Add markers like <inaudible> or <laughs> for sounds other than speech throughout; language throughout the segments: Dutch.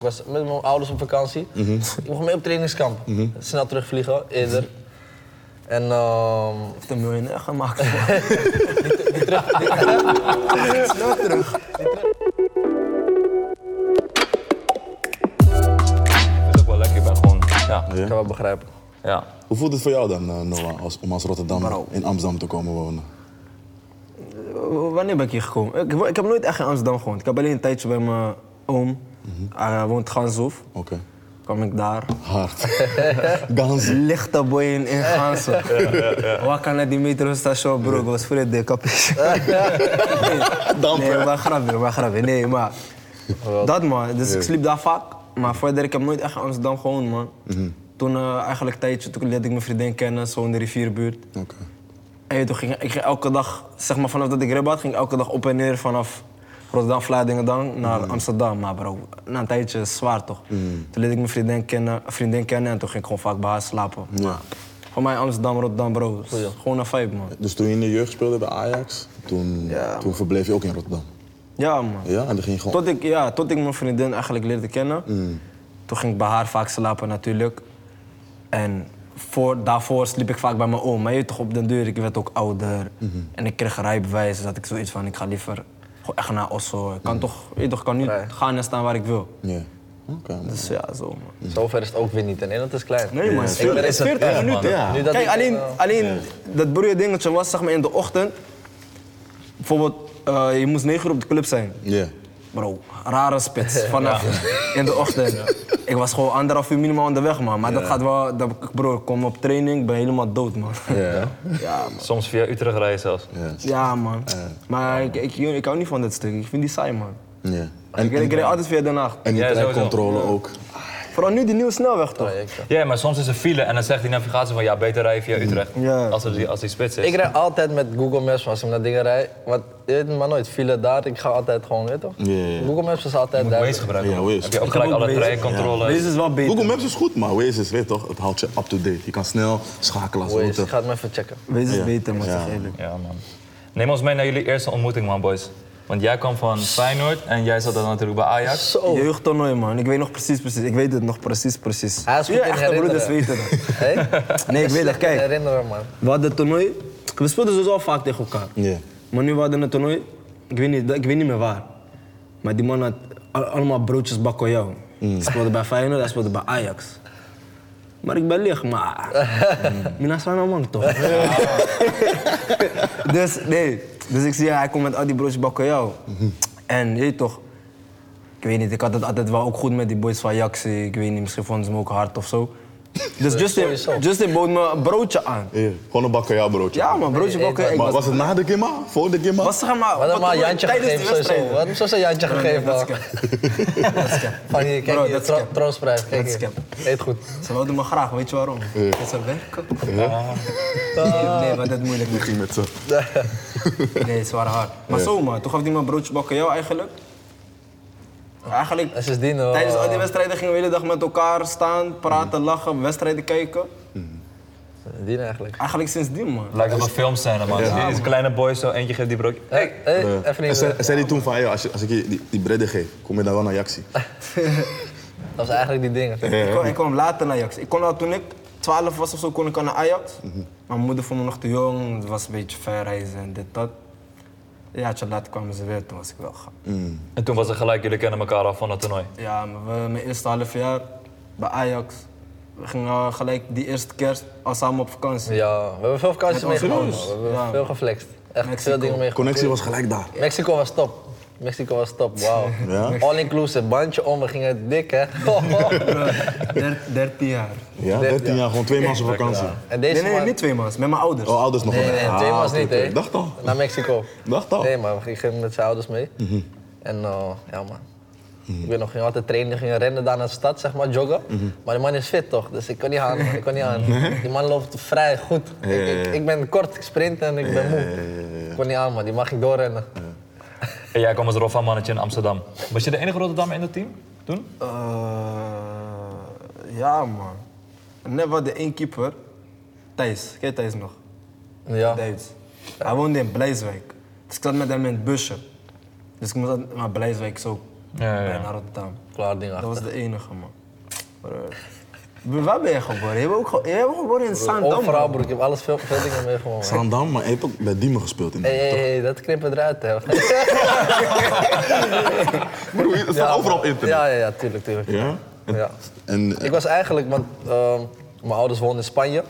Ik was met mijn ouders op vakantie. Mhm. Ik mocht mee op trainingskamp. Snel terugvliegen, eerder. En ehm heeft een miljonair <laughs> gemaakt. Het is ook wel lekker, ik ben gewoon... Ja, ik kan wel begrijpen. ja. Hoe voelt het voor jou dan, eh, Noah, als, om als Rotterdammer in Amsterdam te komen wonen? W- Wanneer ben ik hier gekomen? Ik, wo- ik heb nooit echt in Amsterdam gewoond. Ik heb alleen een tijdje bij mijn oom. Mhm. Hij woont Ganshof. Oké. Kwam ik daar. <laughs> Hard. Gans. Lichte boy in, in <laughs> Gansen. Waar kan het die metrostation, bro? Ik was vroeger de <laughs> kapjes. Damp, Nee, hè? Oh, maar grapje, maar grapje. Nee, maar dat man. Dus ik sliep daar vaak. Maar verder, ik heb nooit echt in Amsterdam gewoond, man. Mhm. Toen eh, eigenlijk een tijdje, toen leerde ik mijn vriendin kennen, zo in de rivierbuurt. Oké. En je, weet toch, ging, ik ging elke dag, zeg maar vanaf dat ik rib had, ging ik elke dag op en neer vanaf Rotterdam, Vlaardingen naar Amsterdam. Maar bro, na een tijdje zwaar toch. Toen leerde ik mijn vriendin kennen, vriendin kennen en toen ging ik gewoon vaak bij haar slapen. Ja. Voor mij Amsterdam, Rotterdam, bro. is Gewoon een vibe, man. Dus toen je in de jeugd speelde bij Ajax, toen, toen verbleef je ook in Rotterdam. Ja, man. Ja, en dan ging je gewoon... Tot ik, ja, tot ik mijn vriendin eigenlijk leerde kennen. Mm. Toen ging ik bij haar vaak slapen natuurlijk. En voor, daarvoor sliep ik vaak bij mijn oom. Maar je weet toch, op den duur, ik werd ook ouder. Mm-hmm. En ik kreeg rijbewijs, dus had ik zoiets van, ik ga liever gewoon echt naar Oslo. Ik kan Mm. toch, je weet toch, ik kan nu Vrij. gaan en staan waar ik wil. Ja. Oké, man. Dus ja, zo man. Mhm. Zover is het ook weer niet. En Nederland is klein. Nee man, het is Ik ben 40 er- minuten. Ja, man. ja. Nu dat Kijk, ik, alleen, eh, alleen dat broeie dingetje was, zeg maar, in de ochtend. Bijvoorbeeld, eh, je moest 9 uur op de club zijn. Ja. Bro, rare spits vanaf in de ochtend. Ik was gewoon anderhalf uur minimaal onderweg, man. Maar dat gaat wel... Dat, bro, ik kom op training, ik ben helemaal dood, man. Ja. Ja, man. Soms via Utrecht rijden zelfs. Ja. Ja, man. Maar ik, ik, ik hou niet van dat stuk. Ik vind die saai, man. Ja. Ik, En, ik en, reed altijd via Den Haag. en die Ja, sowieso. treincontrole ook. Vooral nu die nieuwe snelweg, toch? ja, ik, eh, Ja, maar soms is er file en dan zegt die navigatie van ja, beter rijden via Utrecht. Ja. Als, er die, als die spits is. Mm. ik rij altijd met Google Maps als ik naar dingen rijd. Want je weet maar nooit, file daar. Ik ga altijd gewoon, weet je toch? Ja, ja, ja. Google Maps is altijd daar. Waze gebruiken. Ja, Waze. Heb je Ik ook heb gelijk ook alle Waze. treincontrole. Deze is wel beter. Google Maps is goed, maar Waze is, weet toch, het houdt je up-to-date. Je kan snel schakelen als Waze, ik ga route. het maar even checken. Wees is Ja. beter, man. Ja. zeg eerlijk. Ja, man. Neem ons mee naar jullie eerste ontmoeting, man, boys. Want jij kwam van Feyenoord en jij zat dan natuurlijk bij Ajax. Zo. Jeugdtoernooi, man. Ik weet nog precies, precies. Ik weet het nog precies, precies. Hij is goed Jullie in echte broeders weten herinneren. dat. Hé? Nee, ik weet <laughs> dat. Kijk, Herinneren, man. we hadden het toernooi. We speelden sowieso al vaak tegen elkaar. Ja. Maar nu we hadden een toernooi, ik weet niet, ik weet niet meer waar. Maar die man had al- allemaal broodjes bakkeljauw. Hij speelde bij Feyenoord, hij speelde bij Ajax. Maar ik ben licht, <laughs> maar... Mina Sana man <laughs> toch? dus nee, dus ik zie hij komt met al die broodjes bakkeljauw. En je weet toch, ik weet niet, ik had het altijd wel ook goed met die boys van Jaxi. Ik weet niet, misschien vonden ze me ook hard of <laughs> zo. Dus Justin, sowieso. Justin bood me een broodje aan. Ja. Gewoon een bakkerjaar broodje. Ja man, broodje Nee, bakken. Ik Maar was, was het na de Gimma? Voor de Gimma? was zeg maar... Wat wat- hem maar een jantje tijdens die gegeven sowieso. wedstrijden. Wat hem sowieso een jantje gegeven. dat is man. Van hier, kijk Bro, hier, dat is tro- cap. troostprijs. Kijk Dat is hier. cap. Eet goed. Ze wilden me graag, weet je waarom? Dat ze werken. Nee, nee, maar dat is moeilijk Ik ging met ze. Nee, ze waren hard. Maar zo man, toen gaf die man broodje bakken jou eigenlijk. Eigenlijk, En sindsdien... eh, tijdens al die wedstrijden gingen we de hele dag met elkaar staan, praten, lachen, wedstrijden kijken. Sindsdien eigenlijk. Eigenlijk sindsdien man. Lijkt op een filmscène, man. Die Deze kleine boy zo, eentje geeft die broodje. Hé, hé, even En niet. zei, eh, en zei die toen van, "Yo, als, je- als ik je die, die bredden geef, kom je dan wel naar Ah, Jaxi? Dat was eigenlijk die dingen. Ik, kwam, ik kwam later naar Ajax. Ik kon al, toen ik 12 was of zo, kon ik al naar Ajax. Mijn moeder vond me nog te jong, het was een beetje ver reizen en dit, dat. Een jaartje later kwamen ze weer, toen was ik wel gaan. En toen was het gelijk, jullie kennen elkaar al van het toernooi. Ja, maar we- mijn eerste half jaar bij Ajax. We gingen eh, gelijk die eerste kerst al samen op vakantie. Ja, we hebben veel vakanties Met ons meegemaakt. man. serieus? We hebben Ja. veel geflext. Echt Mexico. veel dingen meegemaakt. Connectie was gelijk daar. Mexico was top. Mexico was top, wauw. Ja? All inclusive, bandje om, we gingen dik, <laughs> hè. <laughs> Dert- 13 jaar. Ja, 13 jaar, gewoon twee <laughs> maanden op vakantie. en Nee, deze nee, man- niet twee maanden, met mijn ouders. Oh, ouders nog wel. Nee, nee, twee Ah, was oké, niet, oké. hè. Dacht al. Naar Mexico. Dacht al. Mhm. Nee, man, ik ging met zijn ouders mee. En eh, ja, man. Ik weet nog, ging altijd trainen, ging rennen daar naar de stad, zeg maar, joggen. Mhm. Maar die man is fit toch, dus ik kon niet aan, man. ik kon niet aan. Die man loopt vrij goed. Ik, ik, ik ben kort, ik sprint en ik ben moe. Eh, Ik kon niet aan, man, die mag ik doorrennen. En jij kwam als Roffa mannetje in Amsterdam. Was je de enige Rotterdammer in dat team toen? Eh, ja, man. Net wat de één keeper, Thijs. Ken je Thijs nog? Ja. Duits. Hij woonde in Blijswijk. Dus ik zat met hem in het busje. Dus ik moest altijd naar Blijswijk zo Ja, ja, bij naar ja. Rotterdam. Klaar ding Dat was achter. de enige, man. Broer. Broer, Waar ben je geboren? Je bent ook ge- je bent geboren in Zandam. Overal bro. broer, ik heb alles veel, veel dingen meegemaakt. man. Zandam, maar je hebt ook bij Diemen gespeeld in de Hé, <laughs> hé, hé, dat knippen eruit, hè. Broer, het staat overal op internet. Ja, ja, ja, tuurlijk, tuurlijk. Ja? Ja. En eh, Ik was eigenlijk, want ehm, mijn ouders woonden in Spanje.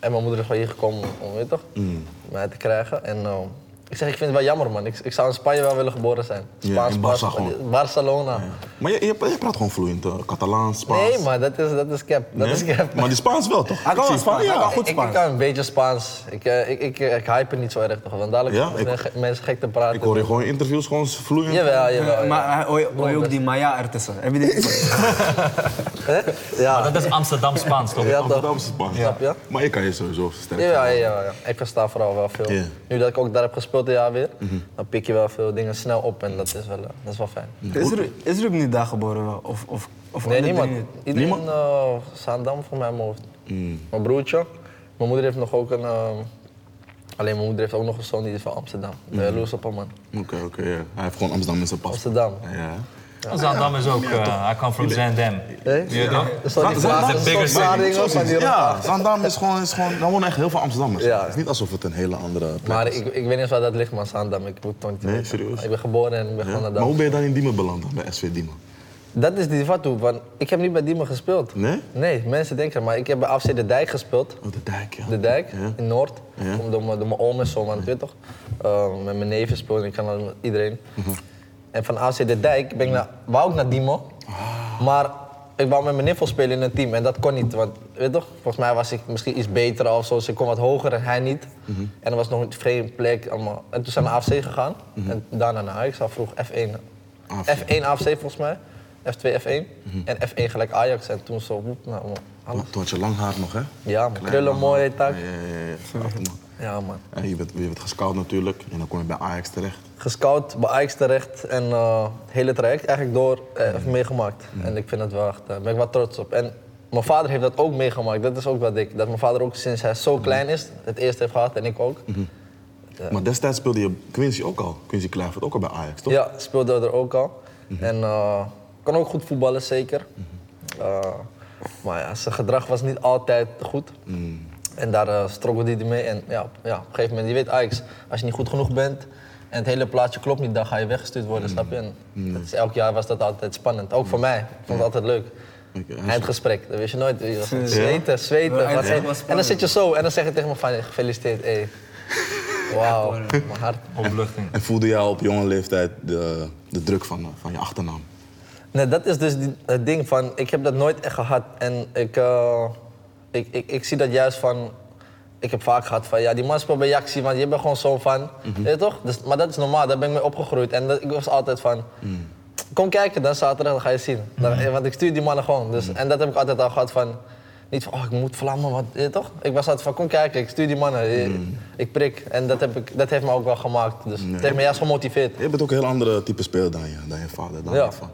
En mijn moeder is wel hier gekomen om, weet je toch, Mm. mij te krijgen. En ehm, ik zeg, ik vind het wel jammer, man. Ik, ik zou in Spanje wel willen geboren zijn. Ja, in Barça Barcelona. gewoon. Barcelona. Maar je, je, je praat gewoon vloeiend eh, Catalaans, Spaans. Nee, maar dat is, dat is cap. Dat Nee? is Ah, cap. Maar die Spaans wel, toch? Hij kan Ik wel zie- Spaans, hij kan Ja. goed Ik, ik Spaans. kan een beetje Spaans. Ik, eh, ik, ik, ik hype het niet zo erg, toch? Want dadelijk Ja, beginnen ik- ge- mensen gek te praten. Ik hoor je gewoon in interviews gewoon vloeiend. Jawel, jawel. ja. Maar hij- hoor je, hoor je ook die Maya ertussen? Heb je <laughs> dit? Hè? Ja, Dat is Amsterdam Spaans, toch? ja toch? Amsterdamse Spaans. Snap je? Maar ik kan je sowieso sterk Ja, ja, ja, ja. ik versta vooral wel veel. Ja. Mhm. Nu dat ik ook daar heb gespeeld dit jaar weer, dan pik je wel veel dingen snel op en dat is wel, eh, dat is wel fijn. Is er, is er niet daar geboren? wel? Of, of, of Nee, alle niemand. drie niet? Iedereen in Zaandam voor mijn hoofd. Mm. Mijn broertje. Mijn moeder heeft nog ook een... eh, alleen mijn moeder heeft ook nog een zoon die is van Amsterdam. Mm. Loes op hem, man. Oké, oké. ja. Hij heeft gewoon Amsterdam in zijn pas. Amsterdam. Ja. Zandam is ook, eh, hij kwam from Zandam. Hey? Ja, toch? Er staat die Zaandam is vraag- een er bigger staat vragen Zoals van iets. die ja, Zandam is gewoon, is gewoon, daar wonen echt heel veel Amsterdammers. Ja. Het is niet alsof het een hele andere plek Maar is. ik, ik weet niet eens waar dat ligt, man, Zaandam. Ik moet toch niet Nee, weten. serieus? Ik ben geboren en ik ben Ja? gewoon naar Maar hoe daar. ben je dan in Diemen beland, dan, bij SV Diemen? Dat is die fatu, want ik heb niet bij Diemen gespeeld. Nee? Nee, mensen denken, maar ik heb bij AFC De Dijk gespeeld. Oh, de dijk, ja. De Dijk, Ja. in Noord. Ja. Om Door, mijn- door mijn oom en zo, man, weet je toch? Eh, met mijn neven speelde ik kan dan met iedereen. Mhm. En van AFC De Dijk ben ik naar, wou ik naar Dimo. Ah. Maar ik wou met mijn niffel spelen in een team en dat kon niet. Want weet je toch, volgens mij was ik misschien iets beter of zo. Dus ik kon wat hoger en hij niet. Mhm. En er was nog een vreemde plek. Allemaal. En toen zijn we naar AFC gegaan. Mhm. En daarna naar Ajax. Al vroeg F1. AFC. F1 AFC volgens mij. F2 F1. Mhm. En F1 gelijk Ajax. En toen zo, woep, nou, man, alles. Toen had je lang haar nog, hè? Ja, man. Klein Krullen, lang mooie haar. tak. Ja, ja, ja. ja. Laat hem maar. Ja, man. En je, werd, je werd gescout natuurlijk en dan kom je bij Ajax terecht. gescout, bij Ajax terecht en eh, het hele traject eigenlijk door eh, heeft meegemaakt. En ik vind het wel echt, eh, ben ik wel trots op. En mijn vader heeft dat ook meegemaakt, dat is ook wel dik. Dat mijn vader ook sinds hij zo klein is, het eerst heeft gehad en ik ook. Maar destijds speelde je Quincy ook al. Quincy Kluivert ook al bij Ajax, toch? Ja, speelde er ook al. En eh, kon ook goed voetballen, zeker. Eh, maar ja, zijn gedrag was niet altijd goed. En daar eh struggelde hij mee. En ja, op- ja, op een gegeven moment, je weet Ajax, als je niet goed genoeg bent en het hele plaatje klopt niet, dan ga je weggestuurd worden, snap je? En dat is, elk jaar was dat altijd spannend. Ook voor mij, ik vond het altijd leuk. Oké, hij is- Eindgesprek, dat wist je nooit. Je was aan het zweten, zweten. wat- Ja, echt wel En dan spannend. zit je zo en dan zeg je tegen me van, gefeliciteerd, hé. Wauw, mijn hart. Opluchting. En voelde jij op jonge leeftijd de, de druk van, eh, van je achternaam? Nee, dat is dus die- het ding van, ik heb dat nooit echt gehad. En ik, eh, ik, ik, ik zie dat juist van, ik heb vaak gehad van, ja, die man speelt bij Jaxi, want je bent gewoon zo'n fan. Weet je toch? Dus, maar dat is normaal, daar ben ik mee opgegroeid. En dat, ik was altijd van, kom kijken dan zaterdag, dan ga je zien. Dan- Want ik stuur die mannen gewoon. Dus, En dat heb ik altijd al gehad van, niet van, oh, ik moet vlammen, want, weet je toch? Ik was altijd van, kom kijken, ik stuur die mannen, je- ik prik. En dat, heb ik, dat heeft me ook wel gemaakt. Dus het heeft me juist gemotiveerd. Je bent ook een heel andere type speler dan je, dan je vader. Dan Ja. je van.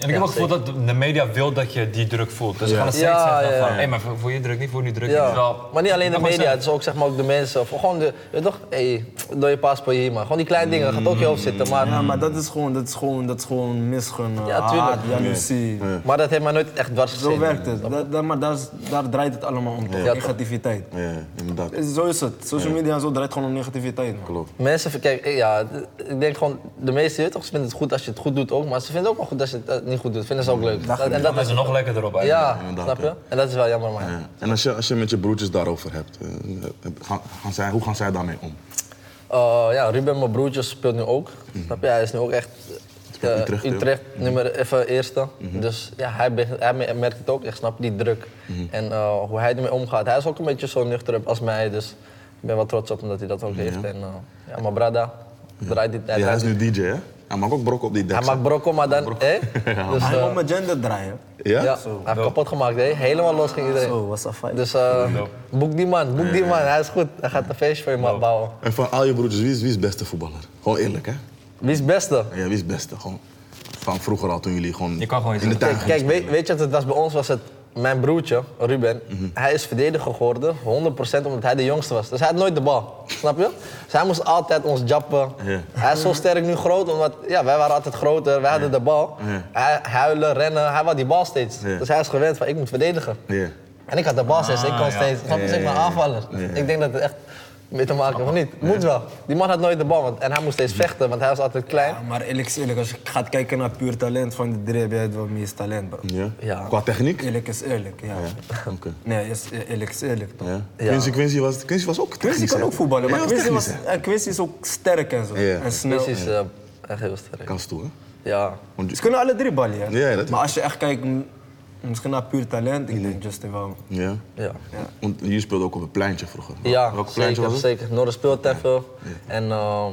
En ik heb ook het gevoel dat de media wil dat je die druk voelt. Dus gewoon een steeds Ja, zeggen ja, van, ja. hé, maar voel voel je druk niet, voel je niet druk. Ja, niet. Terwijl- maar niet alleen de Dus Dat mag media, zijn. het is ook, zeg maar, ook de mensen. Of gewoon de, weet je toch, hey, door je paspoort hier, man. Gewoon die kleine dingen, gaat ook in je hoofd zitten. Maar, Ja, maar dat is gewoon, dat is gewoon, dat is gewoon misgunnen. Ja, tuurlijk. haat, jaloezie. maar dat heeft mij nooit echt dwars gezeten. Zo werkt het. Dat, dat- maar daar, is- daar draait het allemaal om, toch? Ja, toch. negativiteit. Ja, inderdaad. Is- Zo is het. Social media en zo draait gewoon om negativiteit. man. Klopt. Mensen, ver- kijk, ik- ja, d- ik denk gewoon, de meesten weet je toch, ze vinden het goed als je het goed doet ook. Maar ze vinden het ook wel goed als je het eh, niet goed doet. Vinden ze ook leuk. Dat- en dat Dan is is, er nog lekkerder op eigenlijk. ja, inderdaad, snap je? ja. En dat is wel jammer, man. Ja. En als je, als je met je broertjes daarover hebt, eh, eh, gaan, gaan zij, hoe gaan zij daarmee om? Eh, ja, Ruben, mijn broertje, speelt nu ook. Mhm. Snap je? Hij is nu ook echt eh, bij Utrecht, Utrecht, joh. nummer Mhm. even eerste. Dus ja, hij, be- hij me- merkt het ook echt, snap je, die druk. Mhm. En eh, hoe hij ermee omgaat. Hij is ook een beetje zo nuchter als mij, dus ik ben wel trots op hem dat hij dat ook heeft. En eh, ja, mijn brada draait dit. Hij, Ja, hij draait- is nu DJ, hè? Hij maakt ook brok op die hij deks. maakt brokko, maar dan... <laughs> hè? Dus, Hij eh, wil met gender draaien. Ja? ja, hij heeft kapot gemaakt, hè? helemaal los ging iedereen. Zo, was dat fijn. Dus eh, boek die man, boek die man, hij is goed. Hij gaat een feestje voor je ma- bouwen. En van al je broertjes, wie is, wie is beste voetballer? Gewoon eerlijk, hè? Wie is het beste? Ja, wie is beste? Gewoon van vroeger al, toen jullie gewoon Je kan gewoon iets in de doen. tuin Kijk, gingen kijk weet, weet je wat het was bij ons? Was het mijn broertje, Ruben, Mhm. hij is verdediger geworden, 100% omdat hij de jongste was. Dus hij had nooit de bal, snap je? Dus hij moest altijd ons jappen. Ja. Hij is zo sterk nu groot, omdat ja, wij waren altijd groter, wij hadden de bal. Ja. Hij huilen, rennen, hij had die bal steeds. Ja. Dus hij is gewend van, ik moet verdedigen. Ja. Ah, En ik had de bal steeds, ik kon ja. steeds, snap je, zeg maar aanvaller. Ik denk dat het echt mee te maken, of niet? Moet wel. Die man had nooit de bal, want, en hij moest steeds vechten, want hij was altijd klein. Ja, maar eerlijk is eerlijk, als je gaat kijken naar puur talent van de drie, heb jij het wel meest talent, bro. Ja. Ja. Qua techniek? Eerlijk is eerlijk, ja. Oké. Nee, is, e- eerlijk is eerlijk toch? Ja. Ja. Quincy, Quincy, was, Quincy was ook technisch. Quincy kan hè? ook voetballen, maar Hij was Quincy, was, technisch, hè? eh, Quincy is ook sterk en zo. Ja. En snel. Dus is eh, echt heel sterk. Kans toe, hè? Ja. Want, Ze kunnen alle drie ballen, ja. Ja, dat is- maar als je echt kijkt, m- misschien naar puur talent, ik denk Justin wel. ja. Ja. Want je speelde ook op het pleintje vroeger. Ja, Welk pleintje zeker, was het? zeker. Noorden speelt even. En ehm,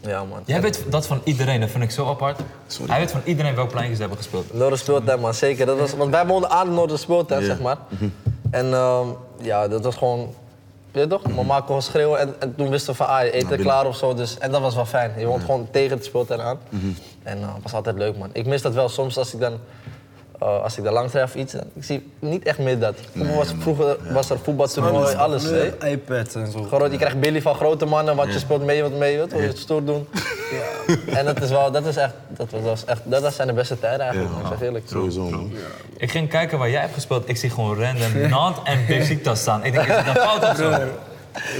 ja man. Jij weet dat van iedereen, dat vind ik zo apart. Sorry. Hij weet van iedereen welke pleintjes ze hebben gespeeld. Noorden speelt man, zeker. Dat was, want wij woonden aan de Noorden speelt zeg maar. Mhm. En ehm, ja, dat was gewoon, weet je toch? Mhm. Mama kon schreeuwen en, en toen wisten we van, ah, Nou, je eten klaar of zo. Dus, en dat was wel fijn. Je woont gewoon tegen het speeltuin aan. Mhm. En eh, het was altijd leuk man. Ik mis dat wel soms als ik dan... eh, als ik daar langs rijd of iets, dan, ik zie niet echt meer dat. Vroeger was, vroeger was er voetbaltoernooi, alles. hè? iPads en zo. Gewoon, je krijgt Billy van grote mannen, want je speelt mee wat mee, weet je, wil je het stoer doen. En dat is wel, dat is echt, dat, was- dat was echt, dat, dat zijn de beste tijden eigenlijk, man, zeg eerlijk. Sowieso, man. Ik ging kijken waar jij hebt gespeeld. Ik zie gewoon random Nant en Besiktas staan. Ik denk, is dat een fout of zo?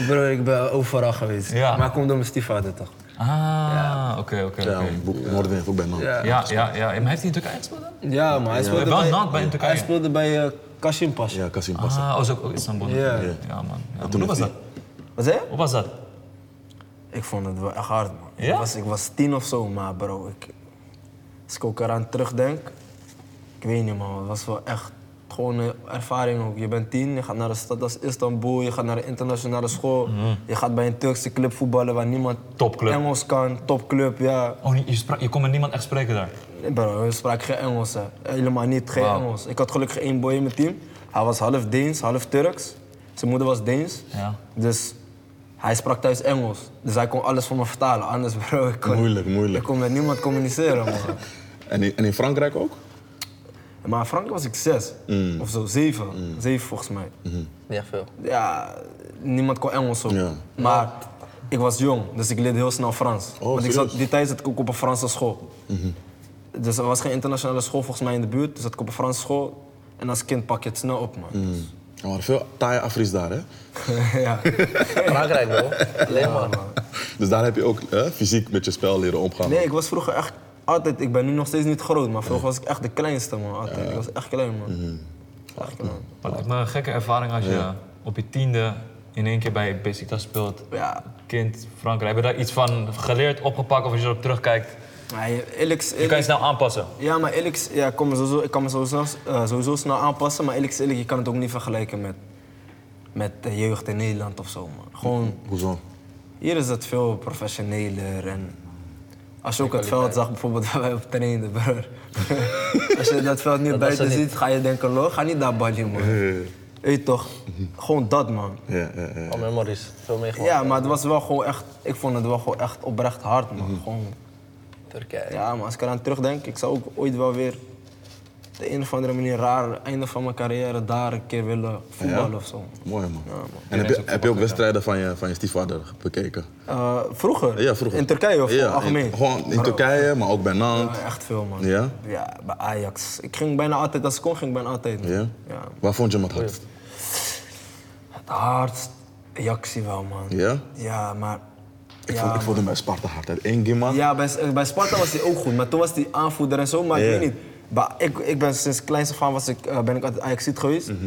Bro, ik ben overal geweest. Ja. Maar komt door mijn stiefvader toch? Ah, oké, oké, Ja, oké. Boek- Noorden heeft ook bij Nam. Ja. Ja, ja, ja. Maar heeft hij in Turkije gespeeld dan? Ja, maar hij speelde Wel bij... nat bij in Turkije. Hij speelde bij eh Kasim Pasha. Ja, Kasim Passa. Ah, oh, is ook ook Istanbul. Ja. Ja, man. Ja, maar toen hoe was is dat? die- Wat zei je? Hoe was dat? Ik vond het wel echt hard, man. Ja? Ik, was, ik was tien of zo, maar bro, ik, als ik ook eraan terugdenk, ik weet niet, man. Het was wel echt gewoon een ervaring ook. Je bent tien, je gaat naar een stad als Istanbul, je gaat naar een internationale school. Je gaat bij een Turkse club voetballen waar niemand Mhm. Topclub. Engels kan. Topclub, ja. Oh, je, sprak, je kon met niemand echt spreken daar. Nee, Bro, we spraken geen Engels, hè. helemaal niet, geen Engels. Ik had gelukkig één boy in mijn team. Hij was half Deens, half Turks. Zijn moeder was Deens. Ja. Dus hij sprak thuis Engels. Dus hij kon alles voor me vertalen. Anders, bro, ik kon, Moeilijk, moeilijk. Ik kon met niemand communiceren, man. En in, en in Frankrijk ook? maar in Frankrijk was ik zes. Mm. Of zo, zeven. Zeven volgens mij. Niet echt veel. Ja, niemand kon Engels op. Mm-hmm. Ja. Maar ik was jong, dus ik leerde heel snel Frans. Want ik Oh, serieus? Mm-hmm. zat, die tijd zat ik ook op een Franse school. Dus er was geen internationale school volgens mij in de buurt. Dus zat ik op een Franse school. En als kind pak je het snel op, man. Er waren veel taaie Afris daar, hè? <laughs> ja. Frankrijk bro, alleen maar. Dus daar heb je ook hè, fysiek met je spel leren omgaan. Nee, ik was vroeger echt altijd... Ik ben nu nog steeds niet groot, maar vroeger was ik echt de kleinste, man. Altijd. Ik was echt klein, man. Mhm. Echt klein. Dat lijkt me een gekke ervaring als je op je tiende in één keer bij Besiktas speelt. Ja. Kind Frankrijk. Heb je daar iets van geleerd, opgepakt of als je erop terugkijkt? Maar je- eerlijk, Je kan je eerlijk- snel aanpassen. Ja, maar eerlijk, ja, ik, kom me sowieso, ik kan me sowieso, eh, sowieso snel aanpassen, maar eerlijk, is eerlijk, je kan het ook niet vergelijken met, met de jeugd in Nederland of zo. Man. Gewoon, Hoezo? hier is het veel professioneler en als je ook het veld zag bijvoorbeeld <laughs> waar wij op trainden, <laughs> broer. als je dat veld niet Dat was buiten er niet. ziet, ga je denken, lo, ga niet daar ballen, <laughs> man. Weet je toch? Mhm. Gewoon dat, man. Ja, ja, ja. Al memories, veel meegemaakt. Ja, maar het was wel gewoon echt, ik vond het wel gewoon echt oprecht hard, man. Mhm. Gewoon Turkije. ja, maar als ik eraan terugdenk, ik zou ook ooit wel weer op de een of andere manier raar einde van mijn carrière daar een keer willen voetballen Ja? of zo. Mooi, man. En heb je, heb je ook wedstrijden van je, van je stiefvader bekeken? Eh, vroeger? Ja, vroeger. In Turkije of Ja, in- algemeen? gewoon in Turkije, maar ook bij Nant. Ja, echt veel man. Ja? Ja, bij Ajax. Ik ging bijna altijd, als ik kon, ging ik bijna altijd. man. Ja? ja. Waar vond je hem het hardst? Het hardst, reactie wel man. Ja? Ja, maar... Ik, ja, vond, ik vond hem bij Sparta hard. Uit één game, man. Ja, bij, eh, bij Sparta was hij ook goed, maar toen was hij aanvoerder en zo, maar Ja. ik weet niet. Maar ik, ik ben sinds kleinste van was ik, eh, ben ik altijd ajax geweest. Mhm.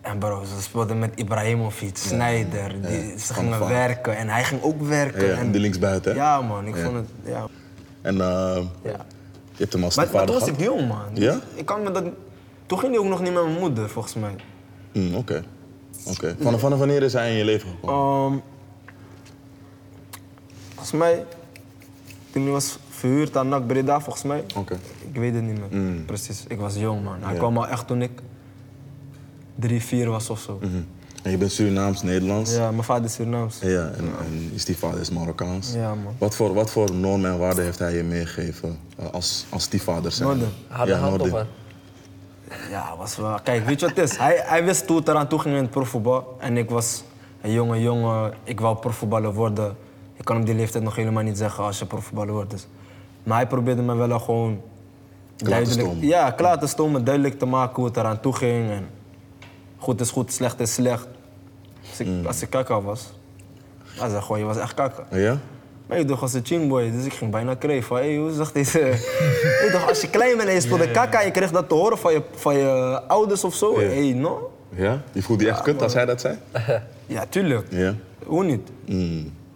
En bro, ze speelden met Ibrahimovic, Sneijder. Die, Ja, Ze Van der gingen Vaart. werken en hij ging ook werken. Ja, en, die linksbuiten, hè? Ja man, ik Ja. vond het, ja. En eh, ja. je hebt hem als Maar, maar stiefvader toen was gehad? ik jong man. Ja? Ik kan me dat, toen ging hij ook nog niet met mijn moeder volgens mij. Mm, Oké. Oké. Vanaf vanaf wanneer is hij in je leven gekomen? Ehm, volgens mij, toen hij was verhuurd aan NAC Breda, volgens mij. Oké. Ik weet het niet meer. Mm. Precies, ik was jong man. Hij kwam al echt toen ik drie, vier was of zo. Mhm. En je bent Surinaams-Nederlands? Ja, mijn vader is Surinaams. Mm. Ja, en, en je stiefvader is Marokkaans. Ja, man. Wat voor, wat voor normen en waarden heeft hij je meegegeven eh, als, als stiefvader zijn? Noorden. Harde hand op haar. Ja, was wel... Kijk, weet je wat het is? Hij, hij wist toen het eraan toe ging in het profvoetbal. En ik was een jonge jongen. Ik wou profvoetballer worden. Ik kan op die leeftijd nog helemaal niet zeggen als je profvoetballer wordt. Dus. Maar hij probeerde me wel gewoon... stomen. Ja, klaar te stomen. Duidelijk te maken hoe het eraan toe ging. En goed is goed, slecht is slecht. Als ik, Mm. als ik kakker was, was dat gewoon, je was echt kakker. Ja? Maar ik dacht, was een chingboy, dus ik ging bijna kreeg van, hey, hoe zag deze... <laughs> ik dacht, als je klein bent en je speelde kaka en je kreeg dat te horen van je, van je ouders of zo, Ja. hey, no? Ja? Je voelde je echt kut als hij dat zei? Ja, tuurlijk. Ja. Mm. Hoe niet?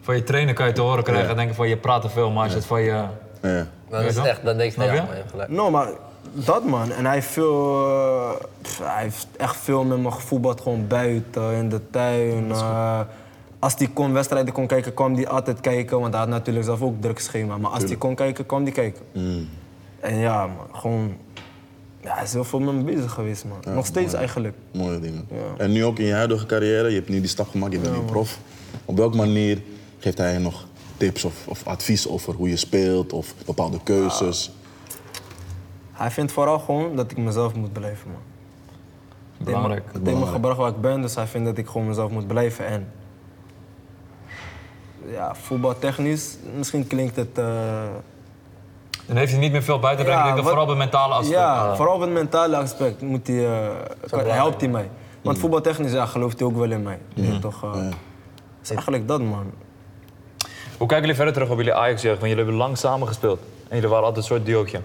Van je trainer kan je te horen krijgen en denken van je praat te veel, maar als je het van je... Ja. Dan is het echt, dan denk je, nee, Snap ja, je? maar je hebt gelijk. No, maar dat man. En hij heeft veel... eh, pff, hij heeft echt veel met me gevoetbald, gewoon buiten, in de tuin. eh. als hij kon wedstrijden kon kijken, kwam hij altijd kijken. Want hij had natuurlijk zelf ook druk schema. Maar als hij kon kijken, kwam hij kijken. En ja, man, gewoon... Ja, hij is heel veel met me bezig geweest, man. Nog steeds eigenlijk. Mooie dingen. En nu ook in je huidige carrière, je hebt nu die stap gemaakt, je bent nu prof. Op welke manier geeft hij je nog tips of, of advies over hoe je speelt of bepaalde keuzes? Hij vindt vooral gewoon dat ik mezelf moet blijven, man. Belangrijk. Het heeft me gebracht waar ik ben, dus hij vindt dat ik gewoon mezelf moet blijven. En ja, voetbaltechnisch, misschien klinkt het... eh, Dan heeft hij niet meer veel buiten. Ja, ik denk dat wat- vooral bij mentale aspect. Ah. Ja, vooral op het mentale aspect moet hij, eh, kan- helpt hij mij. Want Mm. voetbaltechnisch ja, gelooft hij ook wel in mij. Je weet toch, eh, is eigenlijk dat, man. Hoe kijken jullie verder terug op jullie Ajax-jeugd? Want jullie hebben lang samen gespeeld. En jullie waren altijd een soort duootje.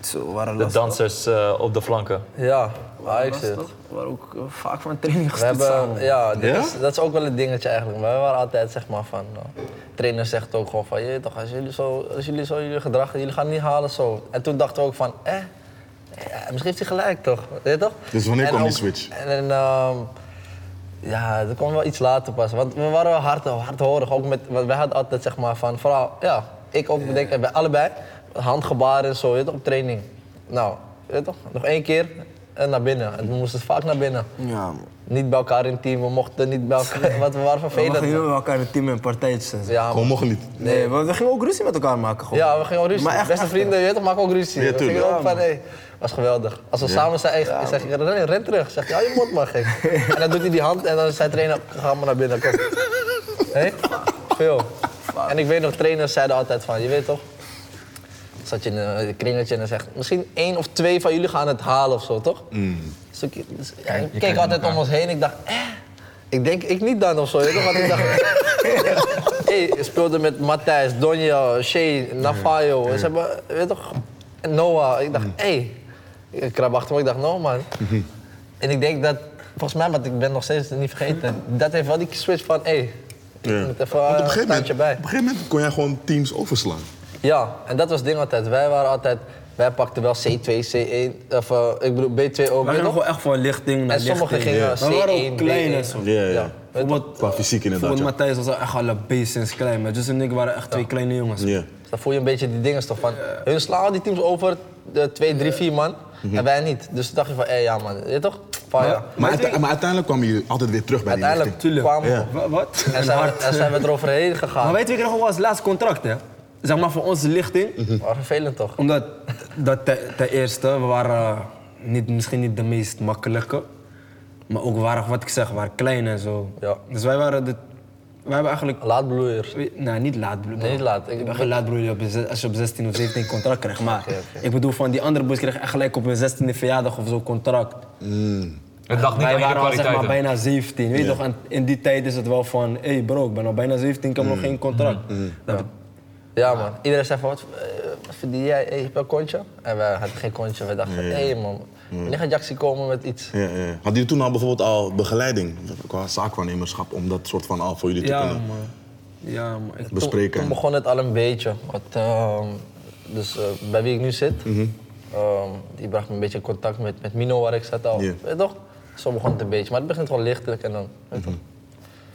Zo, waren De dansers eh, op de flanken. Ja, Ajax We zit. waren ook eh, vaak van training We gestopt samen. hebben, ja, dit Ja? Is, dat is ook wel een dingetje eigenlijk. Maar we waren altijd zeg maar van. nou, de trainer zegt ook gewoon van, je weet toch, als jullie zo, als jullie zo jullie gedrag, jullie gaan het niet halen zo. En toen dachten we ook van, eh, ja, misschien heeft hij gelijk toch, weet je toch? Dus wanneer En kwam die ook- switch? En, en, ehm, ja, dat kwam wel iets later pas. Want we waren wel hard, hardhorig. Ook met, want wij hadden altijd zeg maar van, vooral, ja, ik ook bedenk, en wij allebei, handgebaren en zo, weet je toch, op training. Nou, weet je toch, nog één keer en naar binnen. En we moesten vaak naar binnen Ja, man. niet bij elkaar in het team, we mochten niet bij elkaar, want we waren We gingen vervelend. met elkaar een team en partijtjes. en zo. Ja, Gewoon man. mocht niet. Nee, want we gingen ook ruzie met elkaar maken. Gewoon. ja, we gingen ook ruzie. Maar echt, Beste echt, vrienden, je weet toch, maken ook ruzie. Ja, we tuurlijk. gingen ook van, hé, was geweldig. Als we samen zijn, hey, zeg ik, ren, ren terug. Zeg je, hou je mond maar, <laughs> gek. en dan doet hij die hand en dan zei trainer, ga maar naar binnen, kom. Hé, veel. En ik weet nog, trainers zeiden altijd van, je weet toch, zat je in eh, een kringetje en dan zegt, misschien één of twee van jullie gaan het halen of zo, toch? Mm. Dus ik, dus- ja, ik je keek kijkt altijd naar om ons heen. Ik dacht, eh, ik denk ik niet dan of zo. Weet je, want ik <laughs> dacht, hey, ik speelde met Matthijs, Donja, Shay, Nafayo. Ze hebben, weet je toch, en Noah. Ik Mm. dacht, hé. Ik krab achter me, ik dacht, no <laughs> man. En ik denk dat, volgens mij, want ik ben nog steeds niet vergeten, dat heeft wel die switch van, hé, ik Ja. moet even eh, Want op een, een gegeven standje moment, bij. op een gegeven moment kon jij gewoon teams overslaan. Ja, en dat was het ding altijd. Wij waren altijd, wij pakten wel C2, C1, of eh, ik bedoel B2 ook. We weet je gingen nog? gewoon echt van lichting naar En sommigen lichting. gingen We waren C1, ook klein B1. en zo. Ja, Ja. Bijvoorbeeld, Qua fysiek inderdaad, Bijvoorbeeld ja. Matthijs was al echt al een beest sinds klein. Maar Jus en ik waren echt twee kleine jongens. Ja. Dus dan voel je een beetje die dingen toch van, hun slaan die teams over de 2, 3, 4 man en wij niet. Dus toen dacht je van, hé ja man, weet je toch? Van, ja. Maar, uite- maar uiteindelijk kwamen jullie altijd weer terug bij Uiteindelijk die tuurlijk. kwamen we Ja. op. Wa- Wat? en zijn, we, en zijn we <laughs> eroverheen Maar gegaan. weet je, we kregen gewoon als laatste contract, hè? Zeg maar voor onze Mhm. lichting. Maar vervelend toch? Omdat, dat te- ten eerste, we waren eh, niet, misschien niet de meest makkelijke. Maar ook waren, wat ik zeg, we waren klein en zo. Ja. Dus wij waren de... Wij hebben eigenlijk... Laatbloeiers. we- Nou, niet laat broer. Nee, niet laat. Ik- Ik ben geen laat broer op je zes- als je op 16 of 17 contract krijgt. Maar ik bedoel, van die andere boys kregen echt gelijk op hun 16e verjaardag of zo contract. Het lag niet Wij aan waren je al zeg maar kwaliteiten. bijna 17. Weet je toch, en in die tijd is het wel van, hé hey bro, ik ben al bijna 17, ik heb nog geen contract. Dat bet- Ja man, iedereen zei van, wat eh, wat verdien jij, hey, heb je een kontje? En wij hadden geen kontje, we dachten, hé man, wanneer gaat Jaxi komen met iets? Ja, ja. Hadden jullie toen al bijvoorbeeld al begeleiding qua zaakwaarnemerschap om dat soort van al voor jullie te Ja, kunnen man. Ja, man. Ik- bespreken? Toen begon het al een beetje. Want, ehm, dus eh, bij wie ik nu zit, Mhm. ehm, die bracht me een beetje in contact met, met Mino waar ik zat al. Ja. Mhm. Weet je toch? Zo begon het een beetje. Maar het begint gewoon lichtelijk en dan. weet je toch?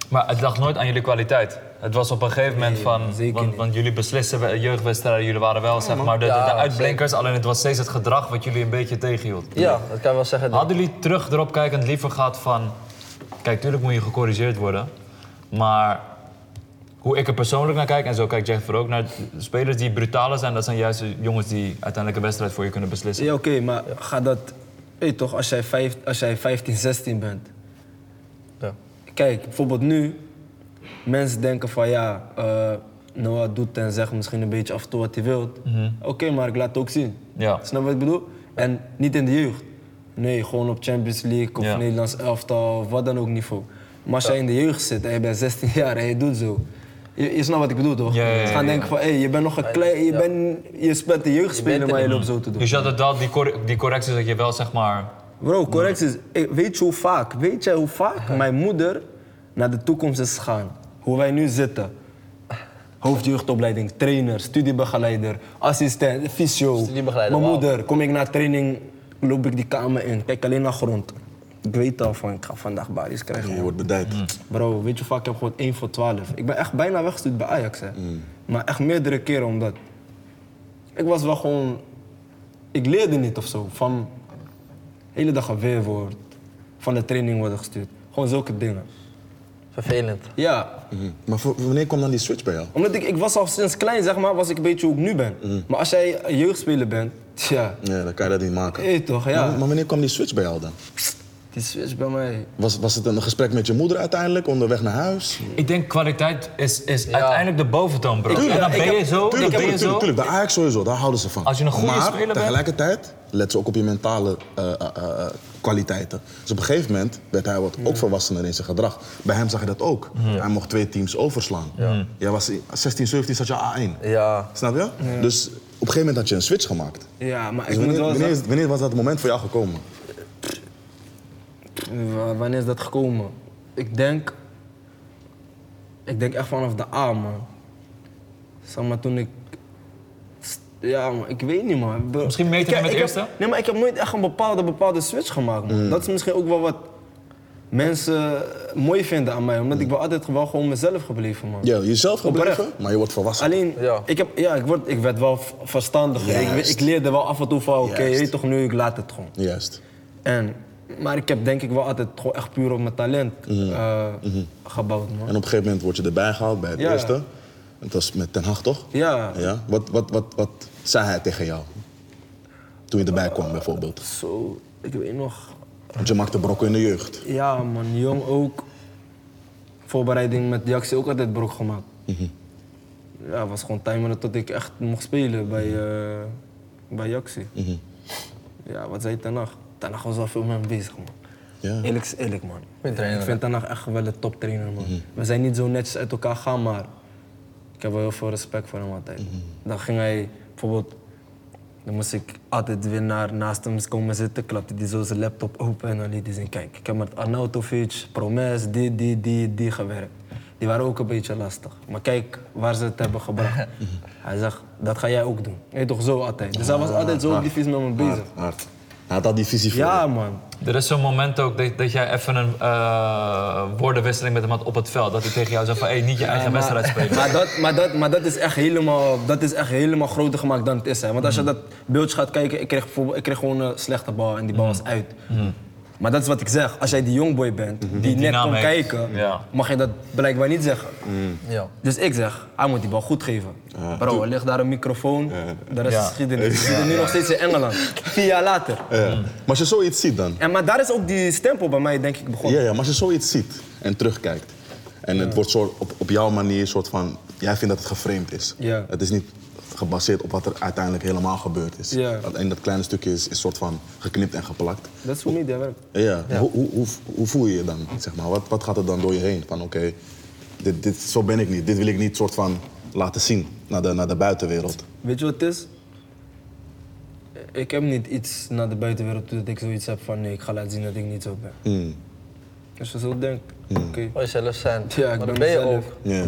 Maar het lag nooit aan jullie kwaliteit. Het was op een gegeven moment van... zeker want, niet. want jullie beslissen we- jeugdwedstrijden. Jullie waren wel zeg maar de, de, de Ja, uitblinkers. Alleen het was steeds het gedrag wat jullie een beetje tegenhield. Ja, dat kan je wel zeggen. Hadden jullie terug erop kijkend liever gehad van... Kijk, tuurlijk moet je gecorrigeerd worden. Maar hoe ik er persoonlijk naar kijk, en zo kijkt Jeff er ook naar... Spelers die brutaler zijn, dat zijn juist de jongens die uiteindelijk een wedstrijd voor je kunnen beslissen. Ja, oké, maar gaat dat weet je toch, als jij, vijf, als jij 15, 16 bent. Ja. Kijk, bijvoorbeeld nu, mensen denken van ja, eh, Noah doet en zegt misschien een beetje af en toe wat hij wil. Oké, maar ik laat het ook zien. Mhm. Ja. Snap je wat ik bedoel? En niet in de jeugd. Nee, gewoon op Champions League of Ja. Nederlands elftal of wat dan ook niveau. Maar als jij in de jeugd zit en je bent 16 jaar en je doet zo. Je, je snapt wat ik bedoel toch? Ja, ja, ja, Ze gaan ja. denken van hé, je bent nog een klein, je, bent, je bent de jeugd spelen, er maar je niet. loopt zo te doen. Dus je had het wel, die, cor- die correcties dat je wel zeg maar. Bro, correcties. Eh, Weet je hoe vaak? Weet jij hoe vaak mijn moeder naar de toekomst is gegaan? Hoe wij nu zitten. Hoofdjeugdopleiding, trainer, studiebegeleider, assistent, fysio. Studiebegeleider, Mijn wauw. moeder, kom ik naar training, loop ik die kamer in, kijk alleen naar grond. Ik weet al van, ik ga vandaag balies krijgen. Je wordt bedijd. Mm. Bro, weet je hoe vaak ik heb gewoon 1 voor 12? Ik ben echt bijna weggestuurd bij Ajax, hè. Mm. Maar echt meerdere keren omdat... Ik was wel gewoon... Ik leerde niet of zo. Van de hele dag geweer wordt. Van de training worden gestuurd. Gewoon zulke dingen. Vervelend. Ja, Mhm. Maar voor- wanneer kwam dan die switch bij jou? omdat ik, ik was al sinds klein, zeg maar, was ik een beetje hoe ik nu ben. Mm. Maar als jij een jeugdspeler bent, tja... Ja, dan kan je dat niet maken. Hé, toch, ja. Maar, maar wanneer kwam die switch bij jou dan? Die switch bij mij... Was, was het een gesprek met je moeder uiteindelijk, onderweg naar huis? Ik denk kwaliteit is, is uiteindelijk de boventoon, bro. en dan ik ben je heb- zo. Tuurlijk, dan ben je tuurlijk, zo. tuurlijk, Bij Ajax sowieso, daar houden ze van. Als je een goede maar speler bent- tegelijkertijd let ze ook op je mentale eh, eh, eh, kwaliteiten. Dus op een gegeven moment werd hij wat ook volwassener in zijn gedrag. Bij hem zag je dat ook. Hij mocht twee teams overslaan. Jij was in- 16, 17 zat je A1. Ja. Snap je? Dus op een gegeven moment had je een switch gemaakt. Ja, maar Dus ik moet wanneer, wel wanneer, zeggen... is- wanneer was dat moment voor jou gekomen? Wa- Wanneer is dat gekomen? Ik denk. Ik denk echt vanaf de A, man. Zeg maar toen ik. Ja, man, ik weet niet, man. Be- Misschien meten Ik heb- met de ik heb- eerste? Nee, maar ik heb nooit echt een bepaalde, bepaalde switch gemaakt, man. Mm. Dat is misschien ook wel wat mensen mooi vinden aan mij, omdat ik wel altijd wel gewoon mezelf gebleven, man. Mm. Ja, jezelf Oprecht. gebleven, maar je wordt volwassen. Alleen, Ja. ik, heb, ja, ik, word, ik werd wel v- verstandiger. Ik, Juist. ik leerde wel af en toe van, oké, je Juist. weet toch nu, ik laat het gewoon. Juist. En, maar ik heb denk ik wel altijd gewoon echt puur op mijn talent eh, gebouwd, man. En op een gegeven moment word je erbij gehaald bij het Ja. eerste. Het was met Ten Hag, toch? Ja. ja? Wat, wat, wat, wat zei hij tegen jou? Toen je erbij kwam, bijvoorbeeld. Zo, ik weet nog. Want je maakte brokken in de jeugd. Ja, man, jong ook. Voorbereiding met Jaxi ook altijd brok gemaakt. Ja, het was gewoon timeren tot ik echt mocht spelen bij, eh bij Jaxi. Ja, wat zei Tanach? Tanach was al veel mee bezig, man. Ja. Eerlijk is eerlijk, man. Goeie trainer, Mhm. ik vind Mhm. Tanach echt wel een toptrainer, man. We zijn niet zo netjes uit elkaar gaan, maar ik heb wel heel veel respect voor hem altijd. Dan ging hij bijvoorbeeld, dan moest ik altijd weer naar, naast hem komen zitten, klapte hij zo zijn laptop open en dan liet hij zien, kijk, ik heb met Arnautovic, Promes, die, die, die, die gewerkt. Die waren ook een beetje lastig. Maar kijk waar ze het hebben <laughs> gebracht. Hij zegt, dat ga jij ook doen. Nee, toch zo altijd. Dus hij was altijd zo op die fiets met me bezig. Hard. Hij had al die visie voor Ja, je. man. Er is zo'n moment ook dat, dat jij even een eh, woordenwisseling met hem had op het veld. Dat hij tegen jou zegt van, hey, niet je eigen <laughs> wedstrijd spelen. Maar dat, maar, dat, maar dat is echt helemaal, dat is echt helemaal groter gemaakt dan het is. Hè. Want Mm. als je dat beeldje gaat kijken, ik kreeg, bijvoorbeeld- ik kreeg gewoon een slechte bal en die Mm. bal was uit. Maar dat is wat ik zeg. Als jij die jongboy bent, die net naam komt heeft. kijken, Mm-hmm. Ja. mag je dat blijkbaar niet zeggen. Mm. Ja. Dus ik zeg, hij moet die bal goed geven. Bro, er ligt daar een microfoon, daar is Ja. geschiedenis. We zitten nu nog steeds in Engeland, vier jaar later. Ja. Eh, Maar als je zoiets ziet dan. En, maar daar is ook die stempel bij mij denk ik begonnen. Ja, ja, maar als je zoiets ziet en terugkijkt. En het wordt soort op, op jouw manier soort van. Jij vindt dat het geframed is. Ja. Het is niet gebaseerd op wat er uiteindelijk helemaal gebeurd is. Ja. Dat- En dat kleine stukje is, is soort van geknipt en geplakt. Dat is hoe media werkt. Ja, Hoe, hoe, hoe, hoe voel je je dan? Zeg maar? wat, wat gaat er dan door je heen? Van oké, dit, dit, zo ben ik niet. Dit wil ik niet soort van laten zien naar de, naar de buitenwereld. Weet je wat het is? Ik heb niet iets naar de buitenwereld toe dat ik zoiets heb van nee, ik ga laten zien dat ik niet zo ben. Hmm. Dus als je zo denkt, oké. Wil je zelf zijn. Ja, maar ik ben dat ben je mezelf. ook. Ja.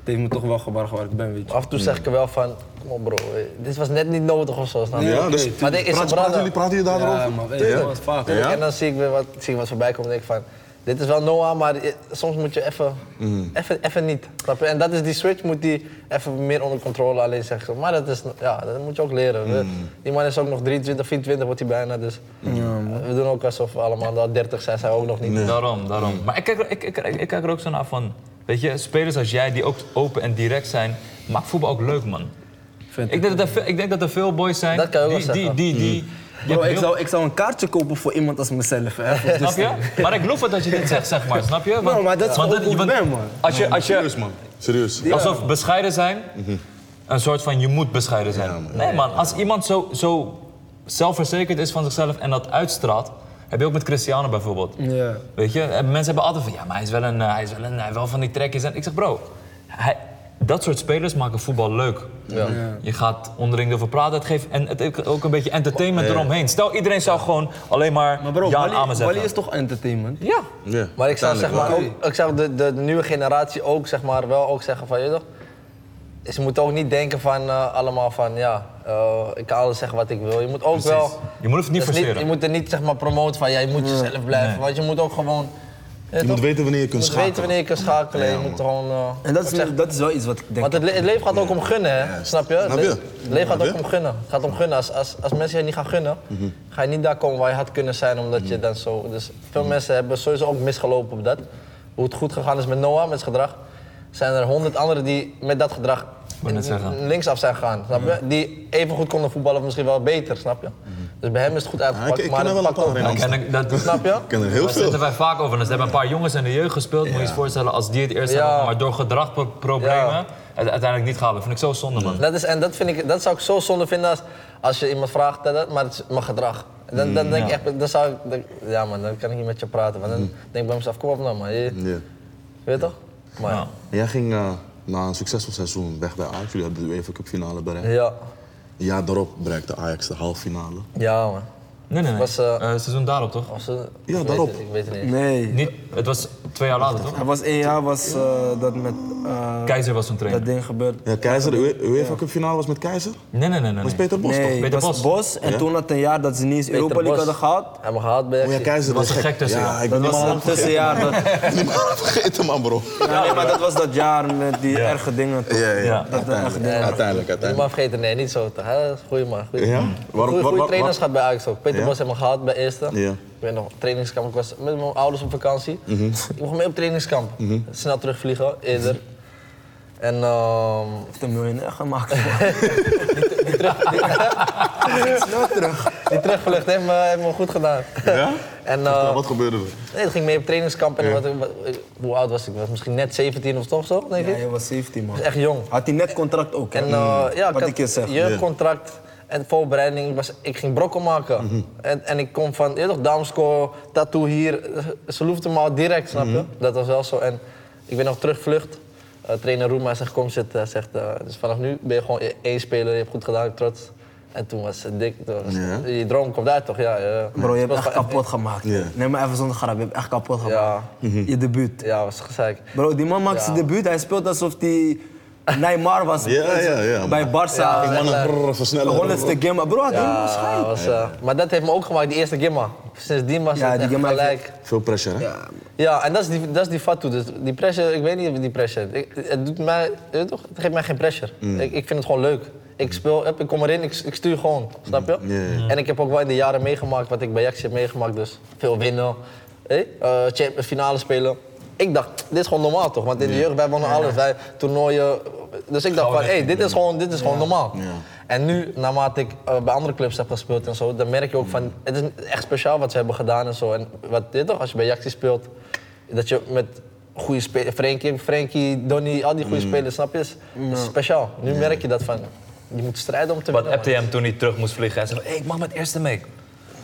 Het heeft me toch wel gebracht waar ik ben, weet je. Af en toe zeg ik er wel van, kom op bro, eh, dit was net niet nodig of zo. snap je? Ja, oké. dus Maar dit is praat, een praten brand- jullie, praten jullie daarover? Ja, maar weet Ah, Ja. je, wat vaak. Ja. En dan zie ik weer wat, zie ik wat voorbij komt en denk ik van, dit is wel Noah, maar i- soms moet je even, even, even niet. Snap je? En dat is die switch, moet die even meer onder controle alleen zeggen. Maar dat is, ja, dat moet je ook leren. We- Die man is ook nog 23, 24 wordt hij bijna, dus eh, we doen ook alsof we allemaal al 30 zijn, zijn we ook nog niet. Daarom, daarom. Maar ik kijk, er- ik, ik, ik, ik kijk er ook zo naar van, weet je, spelers als jij die ook open en direct zijn, maakt voetbal ook leuk, man. Vind Ik denk dat er, ve- ik denk dat er veel boys zijn Dat kan je ook die, wel die, zeggen. die, die, Bro, ik bedoelt- zou, ik zou een kaartje kopen voor iemand als mezelf. <laughs> Hè, voor Snap Justin. je? Maar ik geloof het dat je dit zegt, zeg maar. Snap je? Bro, maar dat is want ook hoe ik ben, man. Als je, als je Serieus, man. Serieus. alsof bescheiden zijn, een soort van je moet bescheiden zijn. Ja, Mhm. man. Nee man, als iemand zo, zo zelfverzekerd is van zichzelf en dat uitstraalt, heb je ook met Cristiano bijvoorbeeld. Mhm. Ja. Weet je, en mensen hebben altijd van ja, maar hij is wel een, eh, hij is wel een, hij heeft wel van die trekjes. En ik zeg bro, hij, dat soort spelers maken voetbal leuk. Je gaat onderling over praten, het geeft en het heeft ook een beetje entertainment eromheen. Stel iedereen zou gewoon alleen maar, Maar bro, ja en Wally- amen zeggen. Wally is toch entertainment? Ja. Ja, Maar ik zou zeg uiteindelijk maar wel. ook, ik zou de, de nieuwe generatie ook zeg maar wel ook zeggen van, je weet toch, ze moeten ook niet denken van eh, allemaal van, ja, eh, ik kan alles zeggen wat ik wil. Je moet ook wel... Je moet het niet dat is forceren. je moet er niet zeg maar promoten van, ja, je moet jezelf blijven, want je moet ook gewoon... Je moet weten wanneer je kunt Je moet weten schakelen. wanneer je kunt schakelen, je moet gewoon... eh, En dat wat is, zeg- dat is wel iets wat ik denk. want het, le- het leven gaat ook om gunnen, hè? Juist. snap je? Het Snap le- je? het leven gaat Snap ook je? Mhm. om gunnen. Het gaat om gunnen. Als, als, als mensen je niet gaan gunnen, ga je niet daar komen waar je had kunnen zijn, omdat je dan zo... Dus veel Mhm. mensen hebben sowieso ook misgelopen op dat. Hoe het goed gegaan is met Noah, met zijn gedrag, zijn er honderd anderen die met dat gedrag wou net in- zeggen. linksaf zijn gegaan, snap Mhm. je? Die even goed konden voetballen, of misschien wel beter, snap je? Dus bij hem is het goed Ja, ik, uitgepakt, ik maar ken er wel het een pakt paar in ook- Amsterdam. En dat, dat- Snap je? Ik ken er heel Daar zitten veel. wij vaak over. Dus er hebben een paar jongens in de jeugd gespeeld. Moet je je voorstellen, als die het eerst Ja. hadden, maar door gedragproblemen Ja. het uiteindelijk niet gehaald. Dat vind ik zo zonde, man. Dat is, en dat, vind ik, dat zou ik zo zonde vinden als, als je iemand vraagt, dat, dat, maar het is mijn gedrag. Dan, Mm, dan denk ik echt, dan zou ik, dan- ja man, dan kan ik niet met je praten. Maar dan denk ik bij mezelf, kom op nou man, je, Ja. weet toch? Maar ja. Jij ging eh, na een succesvol seizoen weg bij Ajax. Jullie hadden de UEFA Cup finale bereikt. ja, Een jaar daarop bereikte Ajax de halve finale. ja man. Nee, nee, nee. Was, Was, eh, seizoen daarop, toch? Of ze- Ja, ik daarop. Weet het, ik weet het niet. Nee. Niet, het was twee jaar later, toch? Er was één jaar was, eh, dat met eh, Keizer was zo'n trainer. dat ding gebeurd. Ja, Keizer, de UE- UEFA Cup finale was met Keizer? Nee, nee, nee. nee, Was nee. Peter Bos Nee, toch? Peter was Bos. Bos. En Ja. toen had een jaar dat ze niet eens Europa League hadden gehad. Hebben gehad bij Oh ja, Ajaxie. Keizer was was een gek. gek tussenjaar. Ja, ik ben Dat was helemaal een tussenjaar. Dat, <laughs> helemaal vergeten man bro. <laughs> ja, nee, maar dat was dat jaar met die erge dingen. toch? Ja, Ja. ja. Uiteindelijk, uiteindelijk. Niet uiteindelijk. maar vergeten, nee, niet zo. toch, hè? Goeie man. Goeie, Ja? goeie, Waarom- goeie wat- wat- trainers wat- gehad bij Ajax ook. Peter Ja? Bos hebben we gehad bij eerste. Ja. Mhm. Ik weet nog, trainingskamp. Ik was met mijn ouders op vakantie. Ik mocht mee op trainingskamp. Snel terugvliegen, eerder. Mhm. En ehm, Heeft een miljonair <laughs> gemaakt. <laughs> die terugvlucht heeft me, heeft me goed gedaan. Ja? <laughs> En Ja, eh, Wat gebeurde er? nee, toen ging ik mee op trainingskamp. En wat, wat- eh, hoe oud was ik? Ik was misschien net 17 of toch zo, denk Ja, ik. hij was 17 man. was echt jong. Had hij net contract ook, hè? En eh, ja, ik Mm. Wat had ik je zeg. jeugdcontract en voorbereiding. Ik, was, ik ging brokkel maken. Mhm. en, en ik kom van, je weet toch, Damsco, tattoo hier. Ze loefden me al direct, snap Mhm. je? Dat was wel zo. En ik ben nog terugvlucht. Eh trainer Roema zegt, kom zitten. Hij zegt, eh, dus vanaf nu ben je gewoon één speler. Je hebt goed gedaan, ik ben trots. En toen was het dik. Toen was- Ja. Je droom komt uit toch? Ja, ja. Bro, je hebt Het was echt gewoon- kapot gemaakt. Ja. Nee, maar even zonder grap. Je hebt echt kapot gemaakt. Ja. Je debuut. Ja, was gezeik. Bro, die man maakt Ja. zijn debuut. Hij speelt alsof hij Neymar was Ja, ja, ja, bij man. Barça. Ja, Die mannen brrr, de versnellen. honderdste game. Maar Bro, had helemaal Ja, schijn. was, eh, Maar dat heeft me ook gemaakt, die eerste gimma. Sindsdien was Ja, het die echt gimma heeft- gelijk. Veel pressure, hè? Ja, en dat is die, dat is die fatu. Dus die pressure, ik weet niet of die pressure. Ik, het, doet mij, je weet toch, het geeft mij geen pressure. Mm. Ik, ik vind het gewoon leuk. Ik speel, hup, ik kom erin, ik, ik stuur gewoon. Snap je? Mm. Ja, ja, En ik heb ook wel in de jaren meegemaakt wat ik bij Ajax heb meegemaakt. Dus veel winnen, hey, eh, champ- finale spelen. Ik dacht, dit is gewoon normaal toch? Want in de jeugd, wij wonnen alles. Wij toernooien. Dus ik dacht van, hé, hey, dit is gewoon, dit is gewoon normaal. En nu, naarmate ik eh, bij andere clubs heb gespeeld en zo, dan merk je ook van, het is echt speciaal wat ze hebben gedaan en zo. En wat dit toch, als je bij Ajax speelt, dat je met goede spelers, Frenkie, Frenkie, Donny, al die goede spelers, snap je? Is, is speciaal. Nu merk je dat van, je moet strijden om te Wat winnen. appte je hem toen hij terug moest vliegen? Hij zei, hey, ik mag met eerste mee.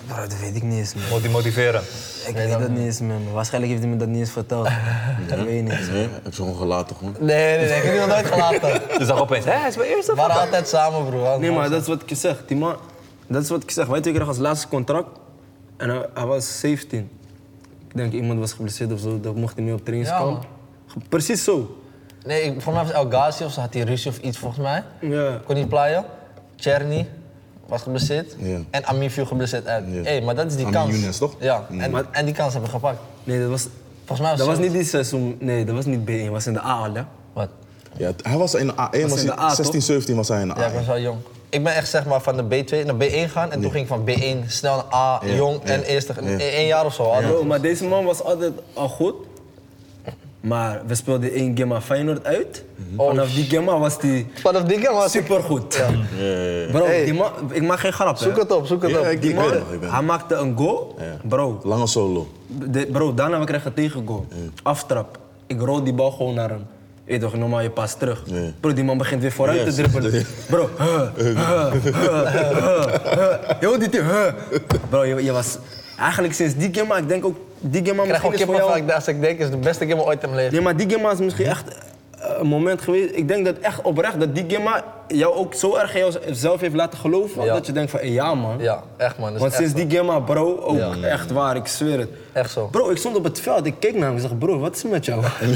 Bro, dat weet ik niet eens, man. Moet hij motiveren. Ik weet dat niet eens, man. Waarschijnlijk heeft hij me dat niet eens <laughs> verteld. Dat weet ik niet. Nee, heb je gewoon gelaten, gewoon. Nee, nee, nee, ik heb die nog nooit gelaten. Dus dacht opeens, hé, hij is mijn eerste. We waren altijd samen, broer. Nee, maar dat is wat ik zeg. Die man, dat is wat ik zeg. Wij twee kregen als laatste contract en hij, hij was 17. Ik denk iemand was geblesseerd of zo, dat mocht hij mee op trainingskamp. Precies zo. Nee, ik, volgens mij was El Ghazi of zo, had hij ruzie of iets volgens mij. Ja. Kon niet plaaien. Cherny was geblesseerd. Ja. En Amin viel geblesseerd uit. Ja. hey, maar dat is die Amin kans. Younes, toch? Ja, en, en die kans hebben we gepakt. Nee, dat was. Volgens mij was Dat was zo. niet dit seizoen. Nee, dat was niet B1, dat was in de A, hè? Wat? Ja, t- hij was in de A1, was in de hij- A, toch? 16, 17 was hij in de A. Ja, ik was wel jong. Ik ben echt zeg maar van de B2 naar B1 gaan en toen ging ik van B1 snel naar A, jong en eerste. Eén E- jaar of zo. al. Bro, maar deze man was altijd al goed. Maar we speelden één game aan Feyenoord uit. Oh, Vanaf die game af was die Vanaf die keer was ik... supergoed. Bro, die man, ik maak geen grap. hè. Zoek het op, zoek het Ja, op. ik- Die man, weet nog, ik weet hij maakte een goal. Bro, Lange solo. de- bro, daarna we kregen een tegengoal. Aftrap. Ik rol die bal gewoon naar hem. Je weet toch, normaal je pas terug. Ja. Bro, die man begint weer vooruit Yes. te <laughs> dribbelen. Bro, huh, huh, huh, huh, huh. Yo, die team, huh. Bro, je, je was... Eigenlijk sinds die game, maar ik denk ook... Die game Ik krijg misschien gewoon is voor jou... kippenvel als ik denk, is de beste game ooit in mijn leven. Nee, maar die game is misschien echt eh, een moment geweest. Ik denk dat echt oprecht dat die game jou ook zo erg in jouzelf heeft laten geloven. Ja. Dat je denkt van, eh, ja man. Ja, echt man. dat is Want echt sinds zo. die game, ah, bro, ook Ja. echt waar, ik zweer het. Echt zo. Bro, ik stond op het veld, ik keek naar hem en zeg, bro, wat is er met <laughs> jou? bro,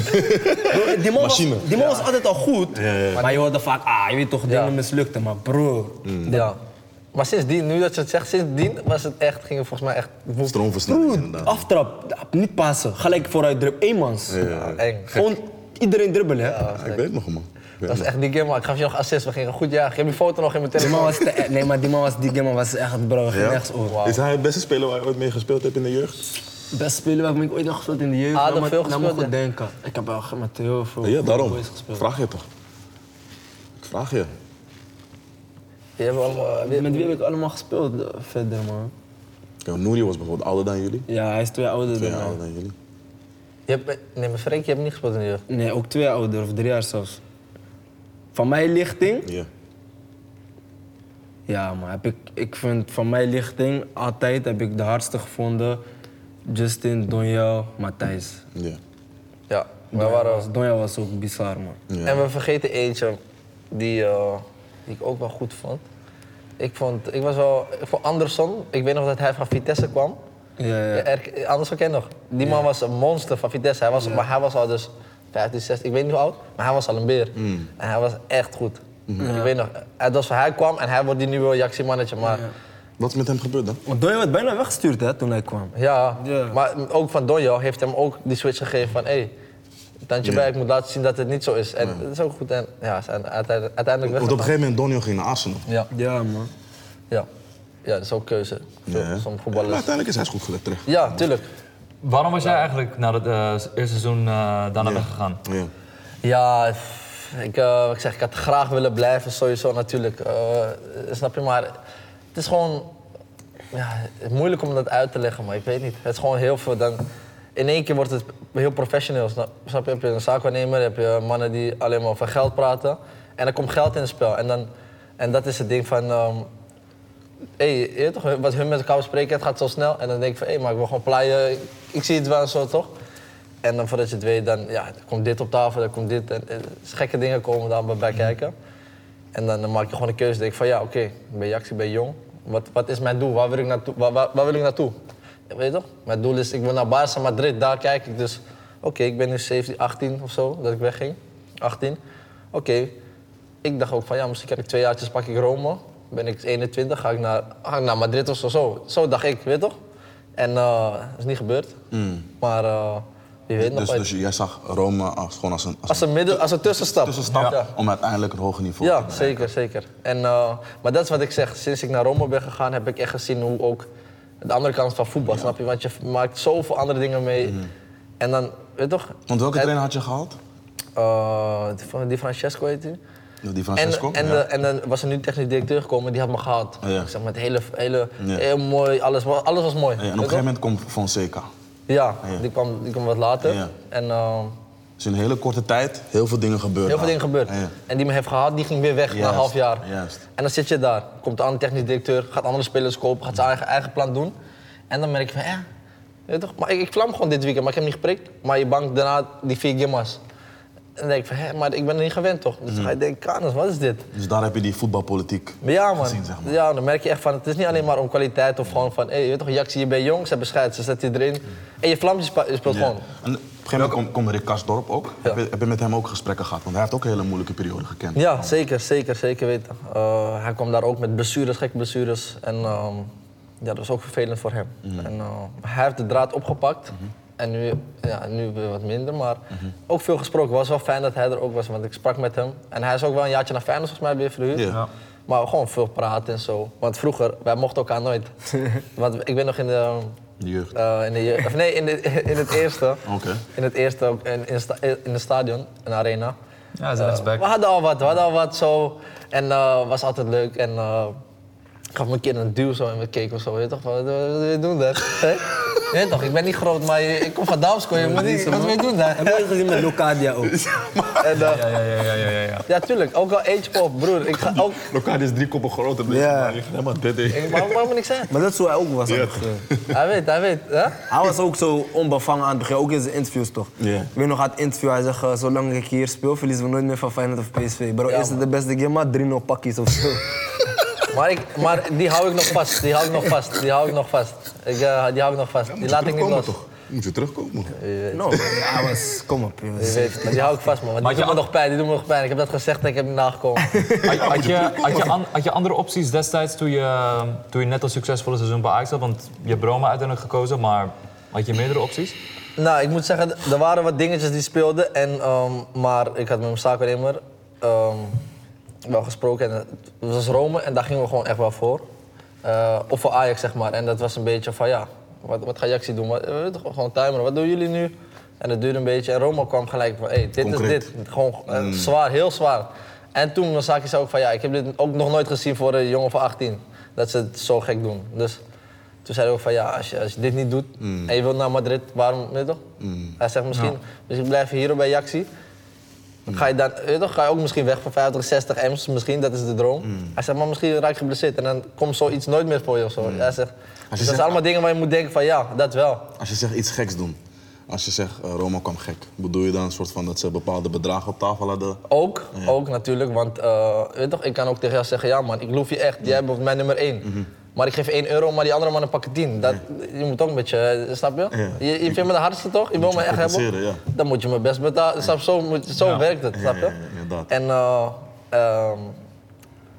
die man, was, die Machine. man was altijd al goed, maar je hoorde vaak, ah, je weet toch, dingen Ja. mislukten, maar bro. Ja. Maar sindsdien, nu dat je het zegt, sindsdien was het echt, ging het volgens mij echt woest. Stroomversnelling Bro, inderdaad. aftrap, niet passen, gelijk vooruit druk, eenmans. Eng. Gewoon iedereen dribbelen, hè. Ja, ik weet nog man. Ik weet Dat was nog. echt die game, man. Ik gaf je nog assist, we gingen goed jagen. Ik heb die foto nog in mijn Die man telefoon. was te, nee, maar die man was, die game was echt, bro, geen Ja? rechts over. Is hij het beste speler waar je ooit mee gespeeld hebt in de jeugd? Best spelen waarmee ik ooit nog gespeeld in de jeugd. Ah, Nou, dat maar- veel nou, gespeeld, moet goed hè? denken. Ik heb wel met heel veel Ja, daarom. boys gespeeld. Vraag je toch? Ik vraag je. Die hebben we allemaal... die- Met wie heb ik allemaal gespeeld eh, verder, man? Ja, Nouri was bijvoorbeeld ouder dan jullie. Ja, hij is twee ouder dan Twee jaar mij. ouder dan jullie. Je hebt, nee, maar Freek, je hebt niet gespeeld in de jeugd. Nee, ook twee ouder, of drie jaar zelfs. Van mijn lichting? Ja. Ja, maar heb ik, ik vind van mijn lichting altijd heb ik de hardste gevonden. Justin, Donjel, Matthijs. Ja. Ja, wij Donjel waren... was- Donjel was ook bizar, man. Ja. En we vergeten eentje die, eh, die ik ook wel goed vond. Ik vond, ik was wel, voor Anderson, ik weet nog dat hij van Vitesse kwam. Ja, Eh, ja. Ja, eh- er, Anderson ken je nog. Die man was een monster van Vitesse. Hij was, Maar hij was al dus 15, 16, ik weet niet hoe oud, maar hij was al een beer. Mm. En hij was echt goed. Mm-hmm. Ik weet nog, eh, het was, hij kwam en hij wordt die nieuwe reactiemannetje. Maar Wat is met hem gebeurd dan? Want Donjel werd bijna weggestuurd, hè, toen hij kwam. ja, Ja. maar ook Van Donjo heeft hem ook die switch gegeven van hé, hey, tandje Ja. bij, ik moet laten zien dat het niet zo is. En dat is ook goed. En ja, ze zijn uiteindelijk, uiteindelijk Want op een weggegaan. gegeven moment Donio ging naar Arsenal. Ja. Ja, man. Ja. ja, dat is ook keuze. Veel, Ja. Sommige Maar voetballers. uiteindelijk is hij goed gelet terug. Ja, tuurlijk. Waarom was jij eigenlijk na het eh, eerste seizoen eh, daarna weggegaan? Ja. Ja, pff, ik, eh, wat ik zeg, ik had graag willen blijven, sowieso natuurlijk. Eh, snap je, maar het is gewoon ja, het is moeilijk om dat uit te leggen, maar ik weet niet. Het is gewoon heel veel. Dan, in één keer wordt het heel professioneel. Snap, snap je? Heb je een zaakwaarnemer, heb je mannen die alleen maar van geld praten. En dan komt geld in het spel. En, dan, en dat is het ding van. ehm, Hé, je weet toch, wat hun met elkaar bespreken, het gaat zo snel. En dan denk ik van, hé, maar ik wil gewoon playen. Ik, ik zie het wel en zo, toch? En dan voordat je het weet, dan ja, er komt dit op tafel, dan komt dit. En, en dus gekke dingen komen daar bij- bij kijken. En dan, dan maak je gewoon een keuze. denk ik van, ja, oké, ik ben jacks, ik ben jong. Wat, wat is mijn doel? Waar wil ik naartoe? Waar, waar, waar wil ik naartoe? Ja, weet je toch? Mijn doel is, ik wil naar Barça, Madrid. Daar kijk ik dus. Oké, ik ben nu 17, 18 of zo, dat ik wegging. 18. Oké, ik dacht ook van ja, misschien heb ik twee jaartjes, pak ik Rome. Ben ik 21, ga ik naar, ga ik naar Madrid of zo. Zo, zo dacht ik, weet toch? En eh, dat is niet gebeurd. Maar eh, wie weet nog Mm. Dus, ooit. dus jij zag Rome als, gewoon als een, als Als een, midden, als een tussenstap. tussenstap Ja, om uiteindelijk het hoger niveau te ja zeker, bereiken. zeker. En, eh, maar dat is wat ik zeg. Sinds ik naar Rome ben gegaan, heb ik echt gezien hoe ook de andere kant van voetbal, snap je? Want je maakt zoveel andere dingen mee. En dan, weet je toch? Mhm. Want welke Het- trainer had je gehaald? eh, die- die Francesco heet hij. Die En, Francesco? en, Ja. Oh, de- en dan was er nu technisch directeur gekomen, die had me gehaald. Ja. Ik zeg, met hele, hele, Ja. Oh, heel mooi, alles, wa- alles was mooi. Ja, en op weet een gegeven je moment komt Fonseca. wel? Ja, Ja. Die, kwam, die kwam wat later. Ja. En eh, Dus in een hele korte tijd heel veel dingen gebeuren. heel veel dingen gebeurd. Ja. En die me heeft gehaald, die ging weer weg na Juist, een half jaar. juist. En dan zit je daar, komt de andere technisch directeur, gaat andere spelers kopen, gaat zijn eigen, eigen plan doen. En dan merk je van, ja, weet je toch? Maar ik, ik vlam gewoon dit weekend, maar ik heb niet geprikt. Maar je bank daarna die vier gimmas. En dan denk ik van, hé, maar ik ben er niet gewend toch? Dus dan Mm. ga je denken, Kanus, wat is dit? Dus daar heb je die voetbalpolitiek. Maar Ja, man. gezien, zeg maar. Ja, dan merk je echt van, het is niet alleen maar om kwaliteit of gewoon van, hé, je weet toch, Jaxie, je bent jong, ze bescheidt, ze zet je erin. En je vlammetje spa- je speelt Mm. Ja. gewoon. En op een gegeven moment komt komt Rick Karsdorp ook. Heb, je, heb je met hem ook gesprekken gehad? Want hij heeft ook een hele moeilijke periode gekend. Ja, zeker, zeker, zeker weten. Eh, hij kwam daar ook met blessures, gekke blessures. En ehm, ja, dat was ook vervelend voor hem. Mhm. En, eh, hij heeft de draad opgepakt. En nu, ja, nu weer wat minder, maar Mhm. ook veel gesproken. Het was wel fijn dat hij er ook was, want ik sprak met hem. En hij is ook wel een jaartje naar Feyenoord volgens mij weer verhuurd. Ja. Ja. <laughs> Maar gewoon veel praten en zo. Want vroeger, wij mochten elkaar nooit. want ik ben nog in de... De jeugd. Eh, in de, je- of nee, in, de, <laughs> in het eerste. Oké. In het eerste, ook in, in, sta- in het stadion, een arena. Ja, hij is rechtsback. We hadden al wat, we hadden al wat zo. En eh was altijd leuk. En eh, ik gaf mijn kinderen een duw zo en we keken of zo. Weet je toch, wat, wat wil je doen daar? <laughs> Hè? Je weet toch, ik ben niet groot, maar je- ik kom van Damsko. Je moet niet, wat wil je doen daar? Heb je ooit gezien met Locadia ook? En, eh, Ja, ja, ja, ja, ja, ja, ja. ja, tuurlijk. Ook al age pop, broer. Ik <laughs> ga ook... Locadia is drie koppen groter. Ja. maar die gaat helemaal dit in. Ik, waarom, waarom moet ik zijn? Maar dat is hoe hij ook was. eh. aan het begin. Hij weet, hij weet. Hè? Hij was ook zo onbevangen aan het begin, ook in zijn interviews toch? Ja. Ik weet nog, aan het interview, hij zegt, eh, zolang ik hier speel, verliezen we nooit meer van Feyenoord of PSV. Bro, is het de beste game, maar 3-0 pakjes of <laughs> zo. Maar, ik, maar die hou ik nog vast. Die hou ik nog vast. Die hou ik nog vast. Ik, eh, die hou ik nog vast. Die laat ik niet los. Toch? Moet je terugkomen. No, hij was, kom op, je Je was- weet, maar die hou ik vast, man. Want Maar die had doet me je al- nog pijn. Die doet me nog pijn. Ik heb dat gezegd en ik heb niet nagekomen. Had, had je, had, je an- had je andere opties destijds toen je, toen je net een succesvolle seizoen bij Ajax had? Want je hebt Roma uiteindelijk gekozen, maar had je meerdere opties? Nou, ik moet zeggen, er waren wat dingetjes die speelden. En, ehm, maar ik had met mijn zaakwaarnemer ehm wel gesproken. En het was Rome en daar gingen we gewoon echt wel voor. Eh, of voor Ajax, zeg maar. En dat was een beetje van, ja, wat, wat ga Jaxie doen? Wat, eh, toch gewoon timeren, wat doen jullie nu? En dat duurde een beetje. En Rome kwam gelijk van, hey, dit Concreet. is dit. Gewoon eh, zwaar, heel zwaar. En toen mijn zaakje zei ook van, ja, ik heb dit ook nog nooit gezien voor een jongen van 18. Dat ze het zo gek doen. Dus toen zei hij ook van ja, als je, als je dit niet doet en je wilt naar Madrid, waarom, weet je toch? Hij zegt misschien, misschien blijf je hier bij Jaxi. Dan Ga je dan, weet je toch, ga je ook misschien weg voor 50, 60 M's, misschien, dat is de droom. Hij zegt, maar misschien raak je geblesseerd en dan komt zoiets nooit meer voor je of zo. Hij zegt, dus dat zegt- zijn allemaal dingen waar je moet denken van ja, dat wel. Als je zegt iets geks doen. Als je zegt eh, Roma kwam gek. Bedoel je dan een soort van dat ze bepaalde bedragen op tafel hadden? Ook, ook natuurlijk, want eh, weet je toch, ik kan ook tegen jou zeggen, ja man, ik loof je echt, jij bent mijn nummer één. Mhm. Maar ik geef 1 euro, maar die andere mannen pakken 10. Dat, Je moet ook een beetje, eh, snap je? Je, je vindt me de hardste toch? Je wil me je echt hebben? compenseren, ja. Dan moet je me best betalen. Snap je? Zo, moet, zo werkt het, snap je? ja, ja, inderdaad. En, eh, ehm,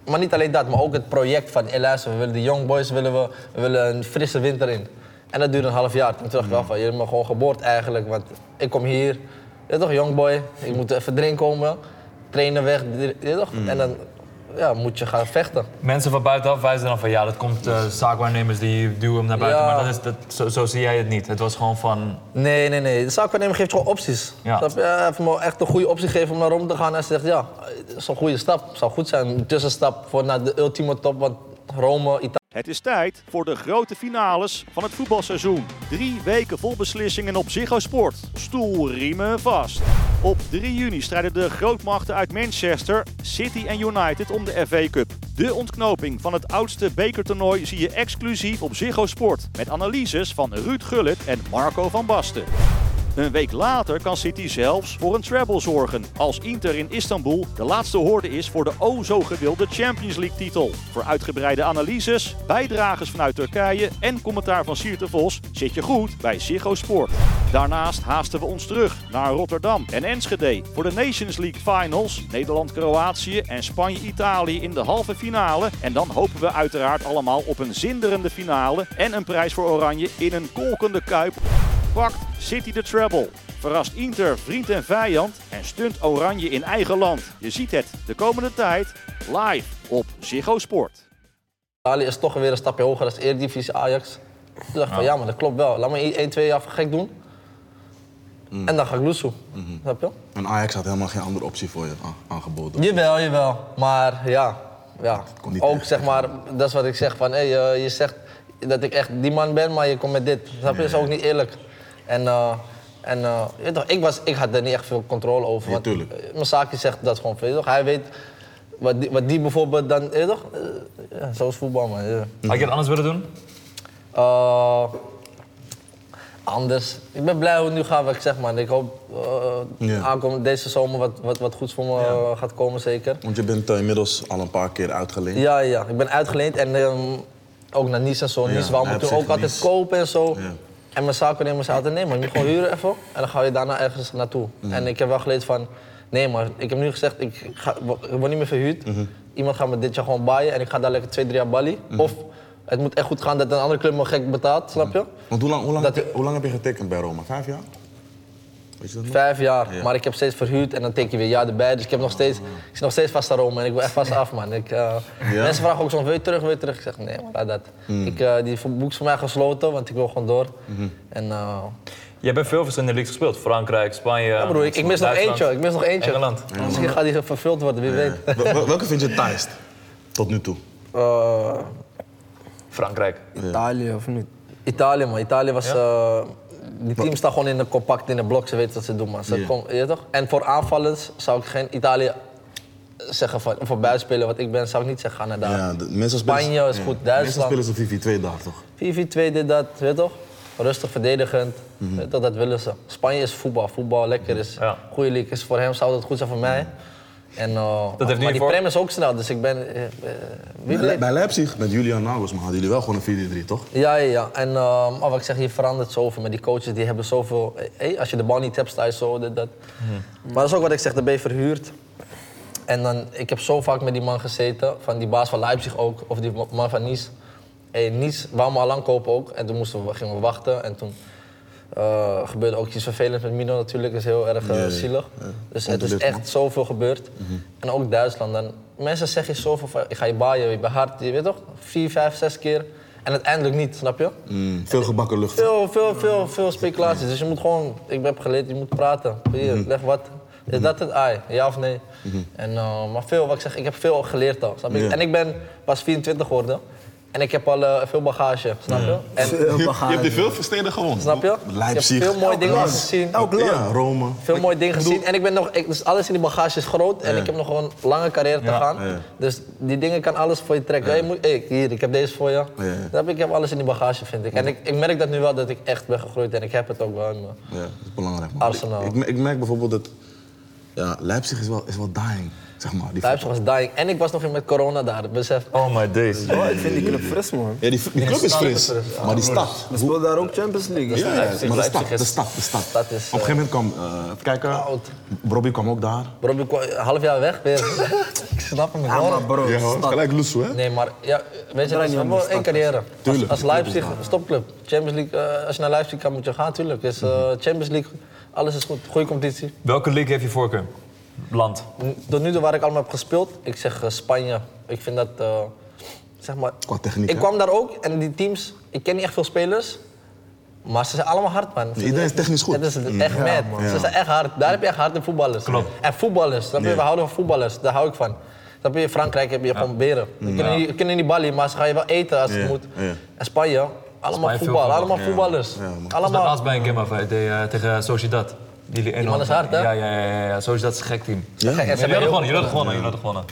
maar niet alleen dat, maar ook het project van, hey, luister, we willen de young boys, willen we, we willen een frisse winter in. En dat duurde een half jaar. Toen dacht ik wel van, jullie hebben me gewoon geboord eigenlijk, want ik kom hier, je weet toch, young boy, ik moet even erin komen, trainen weg, je weet toch? Mm. En dan ja, moet je gaan vechten. Mensen van buitenaf wijzen dan van ja, dat komt eh, zaakwaarnemers die duwen hem naar buiten. Ja. Maar dat is, dat, zo, zo zie jij het niet. Het was gewoon van Nee, nee, nee. De zaakwaarnemer geeft gewoon opties. Ja. Snap je? Hij heeft me echt een goede optie gegeven om naar Rome te gaan. Hij zegt, ja, het is een goede stap. Het zou goed zijn, een tussenstap voor naar de ultieme top. Want Rome, Italië... Het is tijd voor de grote finales van het voetbalseizoen. Drie weken vol beslissingen op Ziggo Sport. Stoelriemen vast. Op 3 juni strijden de grootmachten uit Manchester, City en United om de FA Cup. De ontknoping van het oudste bekertoernooi zie je exclusief op Ziggo Sport. Met analyses van Ruud Gullit en Marco van Basten. Een week later kan City zelfs voor een treble zorgen als Inter in Istanbul de laatste hoorde is voor de o zo gewilde Champions League titel. Voor uitgebreide analyses, bijdrages vanuit Turkije en commentaar van Siert de Vos zit je goed bij Ziggo Sport. Daarnaast haasten we ons terug naar Rotterdam en Enschede voor de Nations League Finals, Nederland-Kroatië en Spanje-Italië in de halve finale. En dan hopen we uiteraard allemaal op een zinderende finale en een prijs voor Oranje in een kolkende kuip pakt City de treble. Verrast Inter vriend en vijand en stunt Oranje in eigen land. Je ziet het de komende tijd live op Ziggo Sport. Italië is toch weer een stapje hoger als Eredivisie Ajax. Toen dacht ik van ja, maar dat klopt wel. Laat me 1, 2 jaar gek doen. En dan ga ik loesoe. Snap je? En Ajax had helemaal geen andere optie voor je a- aangeboden. Jawel, jawel. Maar ja, ja. kon niet ook echt. zeg maar, dat is wat ik zeg van hé, eh, je zegt dat ik echt die man ben, maar je komt met dit. Snap je? Dat is ook niet eerlijk. En, eh, en eh, je weet toch, ik, was, ik had er niet echt veel controle over. want, tuurlijk. eh, Mijn zaakje zegt dat gewoon. Weet je toch? Hij weet wat die, wat die bijvoorbeeld dan, je weet toch? Eh, ja, zo is voetbal man. ja. had je het anders willen doen? Eh, anders. Ik ben blij hoe het nu gaat, wat ik zeg maar. Ik hoop eh Ja. aankomend deze zomer wat, wat, wat goeds voor me eh, gaat komen, zeker. Want je bent eh, inmiddels al een paar keer uitgeleend. Ja, ja. Ik ben uitgeleend en ehm, ook naar Nice en zo. Ja, Nice wou hij me heeft toen ook zich altijd Nice. kopen en zo. Ja. En mijn zakennemer zei altijd, nee maar je moet gewoon huren even. En dan ga je daarna ergens naartoe. En ik heb wel geleerd van, nee maar ik heb nu gezegd, ik, ga, ik word niet meer verhuurd. Mhm. Iemand gaat me dit jaar gewoon baaien en ik ga daar lekker twee, drie jaar balie. Of het moet echt goed gaan dat een andere club me gek betaalt, snap je? Want hoe lang, hoe, lang Dat- heb je, hoe lang heb je getekend bij Roma? Vijf jaar? Weet je dat nog? Vijf jaar, maar ik heb steeds verhuurd en dan teken je weer ja erbij. Dus ik, heb nog steeds, ik zit nog steeds vast aan Rome en ik wil echt vast af, man. Ik, eh, Mensen vragen ook soms, wil je terug, wil je terug? Ik zeg, nee, maar laat dat. Mm. Ik, eh, die boek is voor mij gesloten, want ik wil gewoon door. Mhm. En eh, Je hebt veel verschillende leagues gespeeld. Frankrijk, Spanje, ja, broer, ik, ik mis nog Duitsland. eentje, ik mis nog eentje. Engeland. Misschien gaat die vervuld worden, wie weet. Wel- wel- Welke vind je het taaist? Tot nu toe. Eh, Frankrijk. Italië of niet? Italië, man. Italië was... eh, die team staat gewoon in een compact, in een blok. Ze weten wat ze doen, man. Ze Ja. kom- je weet toch? En voor aanvallers zou ik geen Italië zeggen van... Voor buitenspelen, wat ik ben, zou ik niet zeggen, ga naar daar. Ja, de- meestal spelen Spanje is ze- goed, Meestal Duitsland. spelen ze 4-4-2 daar toch? 4-4-2, dit, dat, weet je toch? Rustig verdedigend, weet je toch? dat willen ze. Spanje is voetbal, voetbal lekker is. Ja. Mhm. Goede league is voor hem, zou dat goed zijn voor mij. En, eh, heeft maar nu die voor- prem is ook snel, dus ik ben... eh, eh, wie Bij, weet. bij Leipzig, met Julian Nagelsman hadden jullie wel gewoon een 4-3 toch? Ja, ja, ja. En ehm, oh, wat ik zeg, je verandert zoveel. Maar die coaches die hebben zoveel... Hey, als je de bal niet hebt, sta je zo. Dit, dat. Hmm. Maar dat is ook wat ik zeg, dan ben je verhuurd. En dan, ik heb zo vaak met die man gezeten, van die baas van Leipzig ook, of die man van Nice. Hey, Nice wou me al lang kopen ook. En toen moesten we, gingen we wachten. En toen eh, gebeurde ook iets vervelends met Mino natuurlijk. Dat is heel erg eh, Ja, ja, zielig. ja. Dus het is Ongelukkig, echt man. zoveel gebeurd. Mhm. En ook Duitsland. Dan, mensen zeggen zoveel van, ik ga je baaien, je bent hard, je weet toch? Vier, vijf, zes keer. En uiteindelijk niet, snap je? Mm, Veel gebakken lucht. Veel, veel, veel, veel speculaties. Dus je moet gewoon, ik heb geleerd, je moet praten. Hier, Mhm. leg wat. Is dat het ai? Ja of nee? En, eh, maar veel, wat ik zeg, ik heb veel geleerd al. Snap je? Ja. En ik ben pas 24 geworden. En ik heb al eh, veel bagage, snap je? En, <laughs> Je, je hebt <laughs> er veel versteden gewonnen. snap je? Leipzig. Ik heb veel mooie dingen Elk land. gezien. Elk land. Ja, Rome. Veel mooie dingen gezien. En ik ben nog, ik, dus alles in die bagage is groot. En ik heb nog een lange carrière te Ja. gaan. Ja. Dus die dingen kan alles voor je trekken. Hey, moet, hey, hier, ik heb deze voor je. ja. Dat heb ik, ik heb alles in die bagage, vind ik. En ik, ik merk dat nu wel dat ik echt ben gegroeid. En ik heb het ook wel in me. Ja, dat is belangrijk. man. Arsenal. Ik, ik, ik merk bijvoorbeeld dat ja, Leipzig is wel, is wel dying, zeg maar. Die Leipzig was dying. En ik was nog in met corona daar, besef. Oh my days. Oh, ik vind die club fris, man. Ja, die, die club is fris, maar die stad. We speelden daar ook Champions League. Ja, ja, maar de stad, Leipzig is- de stad, de stad. Dat is, Op een gegeven moment kwam, eh even kijken, Oud. Robbie kwam ook daar. Robbie kwam een half jaar weg <laughs> weer. ik snap hem Ja, gewoon. maar bro, Ja, hoor, stad. gelijk Loesoe, hè? Nee, maar ja, weet je, Draai dat niet is om wel de één stad. carrière. Als, Tuurlijk, als tuurlijk. Leipzig, stopclub. Champions League, eh, als je naar Leipzig kan, moet je gaan, tuurlijk. Is, eh, Mhm. Champions League, alles is goed. Goede competitie. Welke league heeft je voorkeur? Land. N- Tot nu toe waar ik allemaal heb gespeeld, ik zeg eh, Spanje. Ik vind dat, eh, zeg maar... Qua techniek, Ik hè? kwam daar ook en die teams, ik ken niet echt veel spelers. Maar ze zijn allemaal hard, man. Ze- Iedereen is technisch goed. Mm. Het is echt mad. Ja. Ze zijn echt hard. Daar heb je echt harde voetballers. Klopt. En voetballers, snap je? Ja. We houden van voetballers. Daar hou ik van. Snap je? In Frankrijk heb je gewoon beren. Die kunnen, niet, kunnen niet ballen, maar ze gaan je wel eten als Mm. Ja, het moet. ja. En Spanje, allemaal Spanje veel voetbal. voetbal. Dus Allemaal voetballers. Dat was Allemaal. laatst bij een game af, hè, de, eh, tegen Sociedad. Die, li- man is hard, hè? Ja, ja, ja, ja, ja. Sociedad is een gek team. Ja, Kijk, en Jullie ze hebben hadden heel- gewonnen, jullie hadden gewonnen, jullie hadden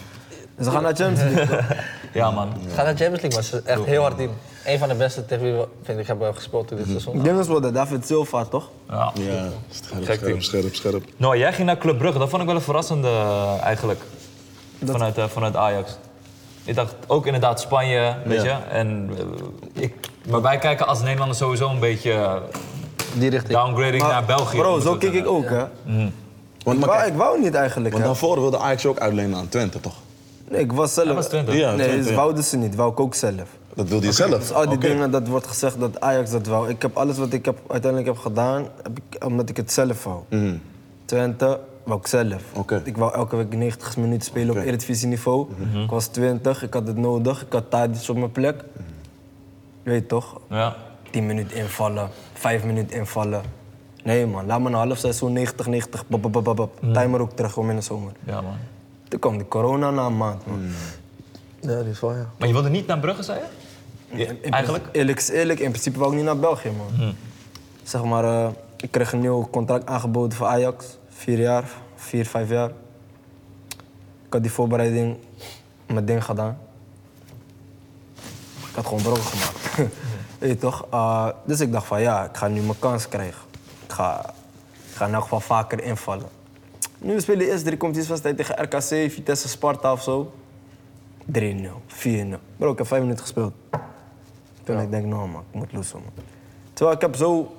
gewonnen. Ze gaan naar Champions League. Ja, man. Ga naar Champions League, maar ze is echt heel hard team. Een van de beste tegen wie we, vind ik, hebben gespeeld dit seizoen. Ik denk dat ze worden David Silva, toch? Ja. ja, scherp, Gek scherp, team. scherp, scherp. Nou, jij ging naar Club Brugge. Dat vond ik wel een verrassende eh, eigenlijk. Vanuit, eh, vanuit Ajax. Ik dacht ook inderdaad Spanje, weet Ja. je. En, eh, ik, maar wij kijken als Nederlanders sowieso een beetje eh, Die richting. downgrading Maar, naar België. Bro, moet zo het kijk ik zeggen. ook, hè. Want, Ik maar wou, kijk, ik wou niet eigenlijk, want hè. daarvoor wilde Ajax je ook uitlenen aan Twente, toch? Nee, ik was zelf... Hij was 20. Ja, nee, Twente, ze ja. wouden ze niet. Wou ik ook zelf. Dat wilde je zelf. Dus al die Oké. dingen, dat wordt gezegd dat Ajax dat wou. Ik heb alles wat ik heb, uiteindelijk heb gedaan, heb ik, omdat ik het zelf wou. Twente wou ik zelf. Mhm. Oké. Ik wou elke week 90 minuten spelen Oké. Mhm. op Eredivisie-niveau. Ik was 20, ik had het nodig. Ik had Tadic op mijn plek. Mhm. Je weet toch? Ja. 10 minuten invallen, 5 minuten invallen. Nee man, laat me een half seizoen 90, 90, bap, bap, bap, bap, bap. Mhm. Timer ook terug om in de zomer. ja, man. Toen kwam die corona na een maand man. Mhm. Ja, die is wel, ja. Maar je wilde niet naar Brugge, zei je? In- Eigenlijk? Eerlijk is eerlijk, in principe wou ik niet naar België, man. Zeg maar, eh, ik kreeg een nieuw contract aangeboden voor Ajax. Vier jaar, vier, vijf jaar. Ik had die voorbereiding, mijn ding gedaan. Ik had gewoon brood gemaakt. <laughs> Weet je toch? Eh, dus ik dacht van ja, ik ga nu mijn kans krijgen. Ik ga, ik ga in elk geval vaker invallen. Nu we spelen de eerste drie competitiewedstrijden tegen RKC, Vitesse, Sparta of zo. 3-0, 4-0. Bro, ik heb vijf minuten gespeeld. Toen ik denk, nou man, ik moet loesen man. Terwijl ik heb zo...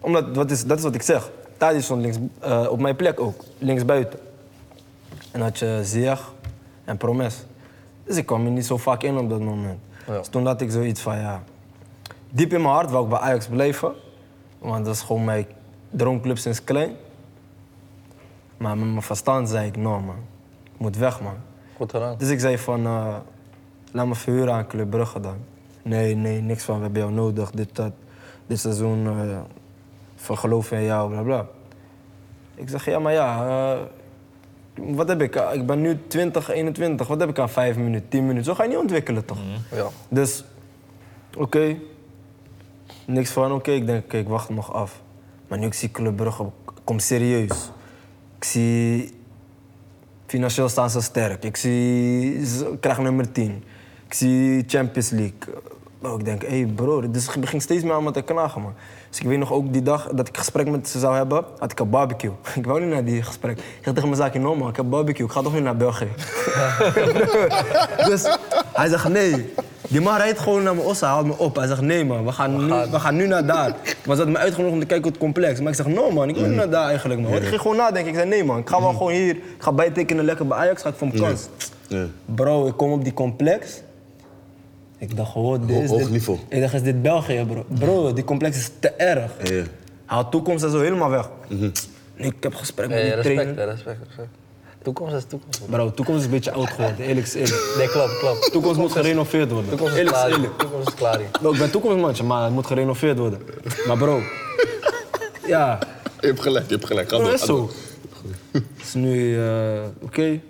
Omdat, wat is, dat is wat ik zeg. Tadi stond links, eh, op mijn plek ook, linksbuiten. En had je Ziyech en Promes. Dus ik kwam er niet zo vaak in op dat moment. Dus toen had ik zoiets van, ja... Diep in mijn hart wou ik bij Ajax blijven. Want dat is gewoon mijn droomclub sinds klein. Maar met mijn verstand zei ik, no man, ik moet weg man. Goed gedaan. Dus ik zei van, eh, laat me verhuren aan Club Brugge dan. Nee, nee, niks van, we hebben jou nodig, dit, dat. Dit seizoen, eh we geloven in jou, bla bla. Ik zeg, ja, maar ja, eh, wat heb ik? eh, Ik ben nu 20, 21, wat heb ik aan 5 minuten, 10 minuten? Zo ga je niet ontwikkelen toch? Ja. Dus, oké. Niks van, oké. Ik denk, oké, ik wacht nog af. Maar nu ik zie Club Brugge, kom serieus. Ik zie... Financieel staan ze sterk. Ik zie... Ze krijgen nummer 10. Ik zie Champions League. Oh, ik denk, hé hey bro, dus ik begin steeds meer aan me te knagen, man. Dus ik weet nog ook die dag dat ik gesprek met ze zou hebben, had ik een barbecue. <laughs> Ik wou niet naar die gesprek. Ik zeg tegen mijn zaakje, no man, ik heb barbecue, ik ga toch niet naar België. Dus hij zegt nee. Die man rijdt gewoon naar mijn ossa, haalt me op. Hij zegt nee man, we gaan, nu, we gaan nu naar daar. Maar ze hadden me uitgenodigd om te kijken op het complex. Maar ik zeg no man, ik wil niet naar daar eigenlijk man. Want ik ging gewoon nadenken. Ik zei nee man, ik ga wel gewoon hier. Ik ga bijtekenen lekker bij Ajax, ga ik van kans. Ja. Bro, ik kom op die complex. Ik dacht gewoon, dit is hoog dit- niveau. Ik dacht, is dit België bro? Bro, die complex is te erg. Ja. Mhm. Hij had toekomst en zo helemaal weg. Nee, ik heb gesprek met Hey, die Eh, respect, trainer. hè, respect, respect. Toekomst is toekomst. man. Bro, toekomst is een beetje oud geworden, eerlijk is eerlijk. Nee, klopt, klopt. Toekomst moet gerenoveerd worden. Toekomst is eerlijk is klaar. eerlijk. hier. Toekomst is klaar hier. Bro, ik ben toekomstmandje, maar het moet gerenoveerd worden. Maar bro, ja, Je hebt gelijk, je hebt gelijk. Ga bro, door, is ga zo. door. Dus nu, eh, oké.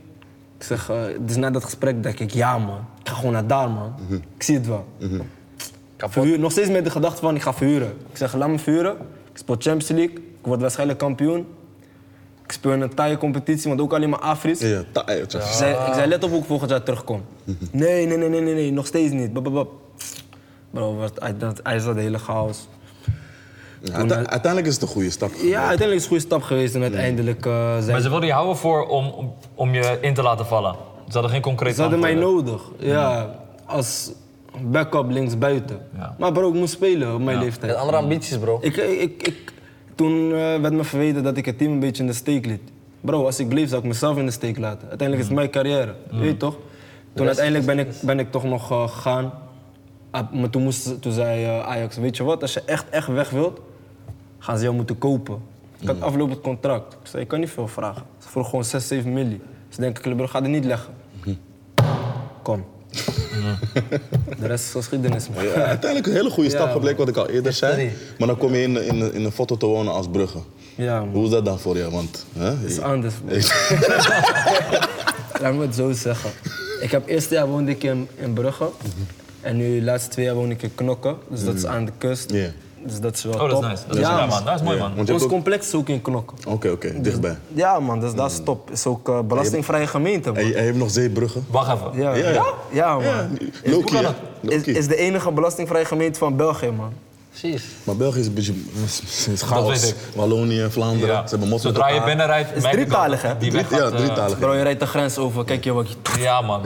Ik zeg, eh, dus na dat gesprek denk ik, ja man, ik ga gewoon naar daar man. Ik zie het wel. Verhuur, nog steeds met de gedachte van, ik ga verhuren. Ik zeg, laat me verhuren. Ik speel Champions League, ik word waarschijnlijk kampioen. Ik speel in een taaie competitie, want ook alleen maar Afris. Ja, eh, taai, tja. Ik zei, Ah. ik zei, let op hoe ik volgend jaar <laughs> terugkom. Nee, nee, nee, nee, nee, nee, nog steeds niet. Bap, bap, bap. Bro, wat, hij, dat, hij zat de hele chaos. Ja, uite- Uiteindelijk is het een goede stap. Ja, uiteindelijk is het een goede stap geweest en uiteindelijk eh Maar zijn ze wilden je houden voor om, om, om je in te laten vallen. Ze hadden geen concreet ze hadden mij antwoorden. nodig. Ja, als backup linksbuiten. Ja. Maar bro, ik moest spelen op mijn Je leeftijd. hebt andere ambities, bro. Ik, ik, ik, toen eh, werd me verweten dat ik het team een beetje in de steek liet. Bro, als ik bleef zou ik mezelf in de steek laten. Uiteindelijk is het mijn carrière, weet je toch? Toen uiteindelijk ben ik, ben ik toch nog eh, gegaan. Ah, maar toen, moest, toen zei eh, Ajax, weet je wat, als je echt, echt weg wilt, gaan ze jou moeten kopen. Ik had aflopend contract. Ik zei, ik kan niet veel vragen. Ze vroeg gewoon 6, 7 miljoen. Ze denken, Clubber gaat er niet leggen. Kom. De rest is geschiedenis. man. Ja, uiteindelijk een hele goede stap gebleken, wat ik al eerder zei. History. Maar dan kom je in, in, in een foto te wonen als Brugge. Ja, man. Hoe is dat dan voor jou? Want, hè? Het is <laughs> anders. man. <laughs> Laat me het zo zeggen. Ik heb eerste jaar woonde ik in, in Brugge. Mhm. En nu de laatste twee jaar woon ik in Knokke. Dus dat is aan de kust. Ja. Dus dat is wel Oh, top. dat is nice. Dat is, ja, man. Dat is mooi, man. Want je Ons hebt ook- complex is ook in Knokke. Oké, oké, dichtbij. Ja man, dus dat is Mhm. top. Is ook eh, belastingvrije gemeente En man. je, en je hebt nog zeebruggen? Wacht even. Ja, Ja, ja. ja. ja Ja, man. hoe Loki, kan hè? dat? Is, Loki. is de enige belastingvrije gemeente van België man. Precies. Maar België is een beetje is- is chaos. weet ik. Wallonië, Vlaanderen, Ja. ze hebben mot met Zodra je elkaar. binnenrijdt, Is merk ik al drietalig, dat hè? Die weg Drie- ja, gaat, eh, drietalig. Bro, je rijdt de grens over. Kijk je wat Ja, man.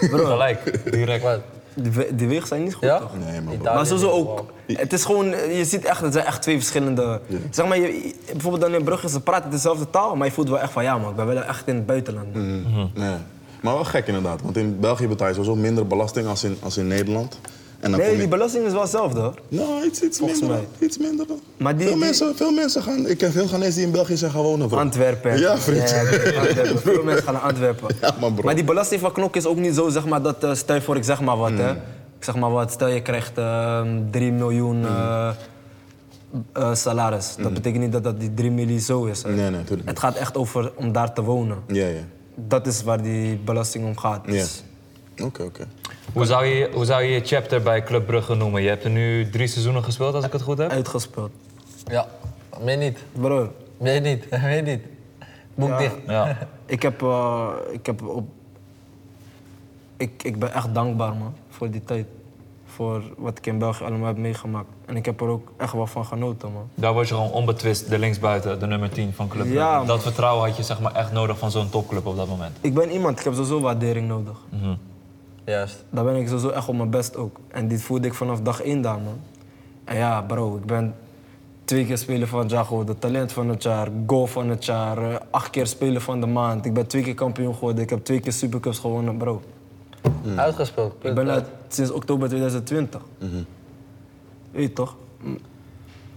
Gelijk, direct. Wat? Die, we- die wegen zijn niet goed Ja? toch? Nee, maar bro. Italië. Maar sowieso ook. Het is gewoon, je ziet echt, het zijn echt twee verschillende. Zeg maar, je, bijvoorbeeld dan in Brugge, ze praten dezelfde taal, maar je voelt wel echt van ja, man, ik ben wel echt in het buitenland. Mm. Nee. Maar wel gek inderdaad, want in België betaal je sowieso minder belasting als in, als in Nederland. En dan Nee, kom je- die belasting is wel hetzelfde hoor. Nou, iets, iets Volgens minder. mij. Iets minder dan. Maar die- veel, die- mensen, veel mensen gaan... Ik ken veel Ghanese die in België zijn gaan wonen, bro. Antwerpen. Ja, vriend. Ja, <laughs> Antwerpen. Veel mensen gaan naar Antwerpen. Ja, maar bro. die belasting van Knok is ook niet zo, zeg maar, dat eh, stel je voor, ik zeg maar wat, Mm. hè. Ik zeg maar wat, stel je krijgt eh, 3 miljoen Mm. eh, eh, salaris. Dat betekent niet dat dat die 3 miljoen zo is. hè. Nee, nee, tuurlijk Het gaat echt over om daar te wonen. Ja, ja. Dat is waar die belasting om gaat. Ja. Dus- Oké, oké. Hoe zou, je, hoe zou je je chapter bij Club Brugge noemen? Je hebt er nu drie seizoenen gespeeld, als ik het goed heb. uitgespeeld. Ja. Meer niet. Bro, Meer niet. <laughs> Meer niet. Boek dicht. Ja. ik heb, eh, ik heb op... Ik, ik ben echt dankbaar, man, voor die tijd. Voor wat ik in België allemaal heb meegemaakt. En ik heb er ook echt wel van genoten, man. Daar was je gewoon onbetwist de linksbuiten, de nummer 10 van Club Brugge. Ja, man. dat vertrouwen had je zeg maar, echt nodig van zo'n topclub op dat moment. Ik ben iemand, ik heb sowieso waardering nodig. Juist. Daar ben ik sowieso echt op mijn best ook. En dit voelde ik vanaf dag één daar, man. En ja, bro, ik ben twee keer speler van het jaar geworden. Talent van het jaar, goal van het jaar, eh, acht keer speler van de maand. Ik ben twee keer kampioen geworden, ik heb twee keer supercups gewonnen, bro. Uitgespeeld. Ik Eh, ben uit Mhm. sinds oktober 2020. Weet je toch? Mm.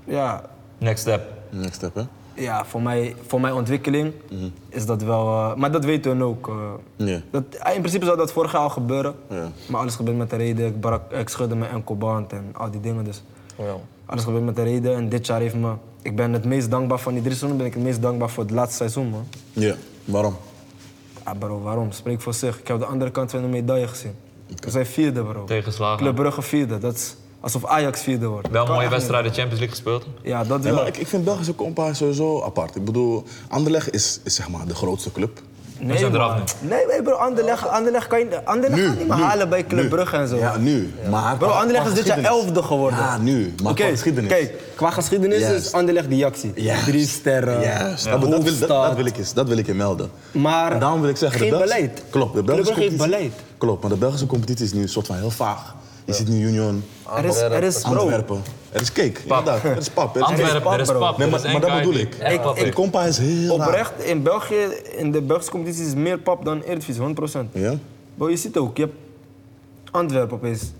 Ja, Next step. Next step, hè? Ja, voor, mij, voor mijn ontwikkeling is dat wel. eh, maar dat weten we ook. eh. Mhm. Ja. dat, eh, in principe zou dat vorig jaar al gebeuren. Ja. Maar alles gebeurt met de reden. Ik, brak, ik schudde mijn enkelband en al die dingen. Dus Oh Ja. alles gebeurt met de reden. En dit jaar heeft me. Ik ben het meest dankbaar van die drie seizoenen. Ben ik het meest dankbaar voor het laatste seizoen, man. Ja, waarom? Ah, bro, waarom? Spreek voor zich. Ik heb de andere kant van de medaille gezien. We zijn vierde, bro. Tegenslagen. Club Brugge vierde. Dat is alsof Ajax vierde wordt. Wel mooie wedstrijden Champions League gespeeld. Ja, dat Nee, wel. maar ik, ik vind Belgische compa sowieso apart. Ik bedoel, Anderlecht is, is zeg maar de grootste club. Nee, zijn eraf man. Nee, nee, bro. Anderlecht, Anderlecht kan je Anderlecht Nu, gaat niet meer nu, halen bij Club nu. Brugge en zo. Ja, nu. Maar Bro, qua- Anderlecht qua is dit jaar geschiedenis- elfde geworden. Ja, nu. Maar Oké, qua geschiedenis. Kijk, qua geschiedenis Juist. is Anderlecht die actie. Juist. Drie sterren, Juist, dat, dat, wil, dat, dat wil ik eens, dat wil ik je melden. Maar En daarom wil ik zeggen, de geen Belgische- beleid. Klopt, de Club Belgische Brugge heeft competitie- beleid. Klopt, maar de Belgische competitie is nu een soort van heel vaag. Je ziet nu Union, Er is, er is bro, Antwerpen. Er is cake, inderdaad. Er is pap. Er is cake. Antwerpen, er is pap, bro. pap. Nee, er maar, is één maar dat guy bedoel die- ik. Echt pap De is. compa is heel raar. oprecht, in België, in de Belgische competitie is meer pap dan Eredivisie, 100%. Ja? Bro, je ziet ook, je hebt Antwerpen opeens.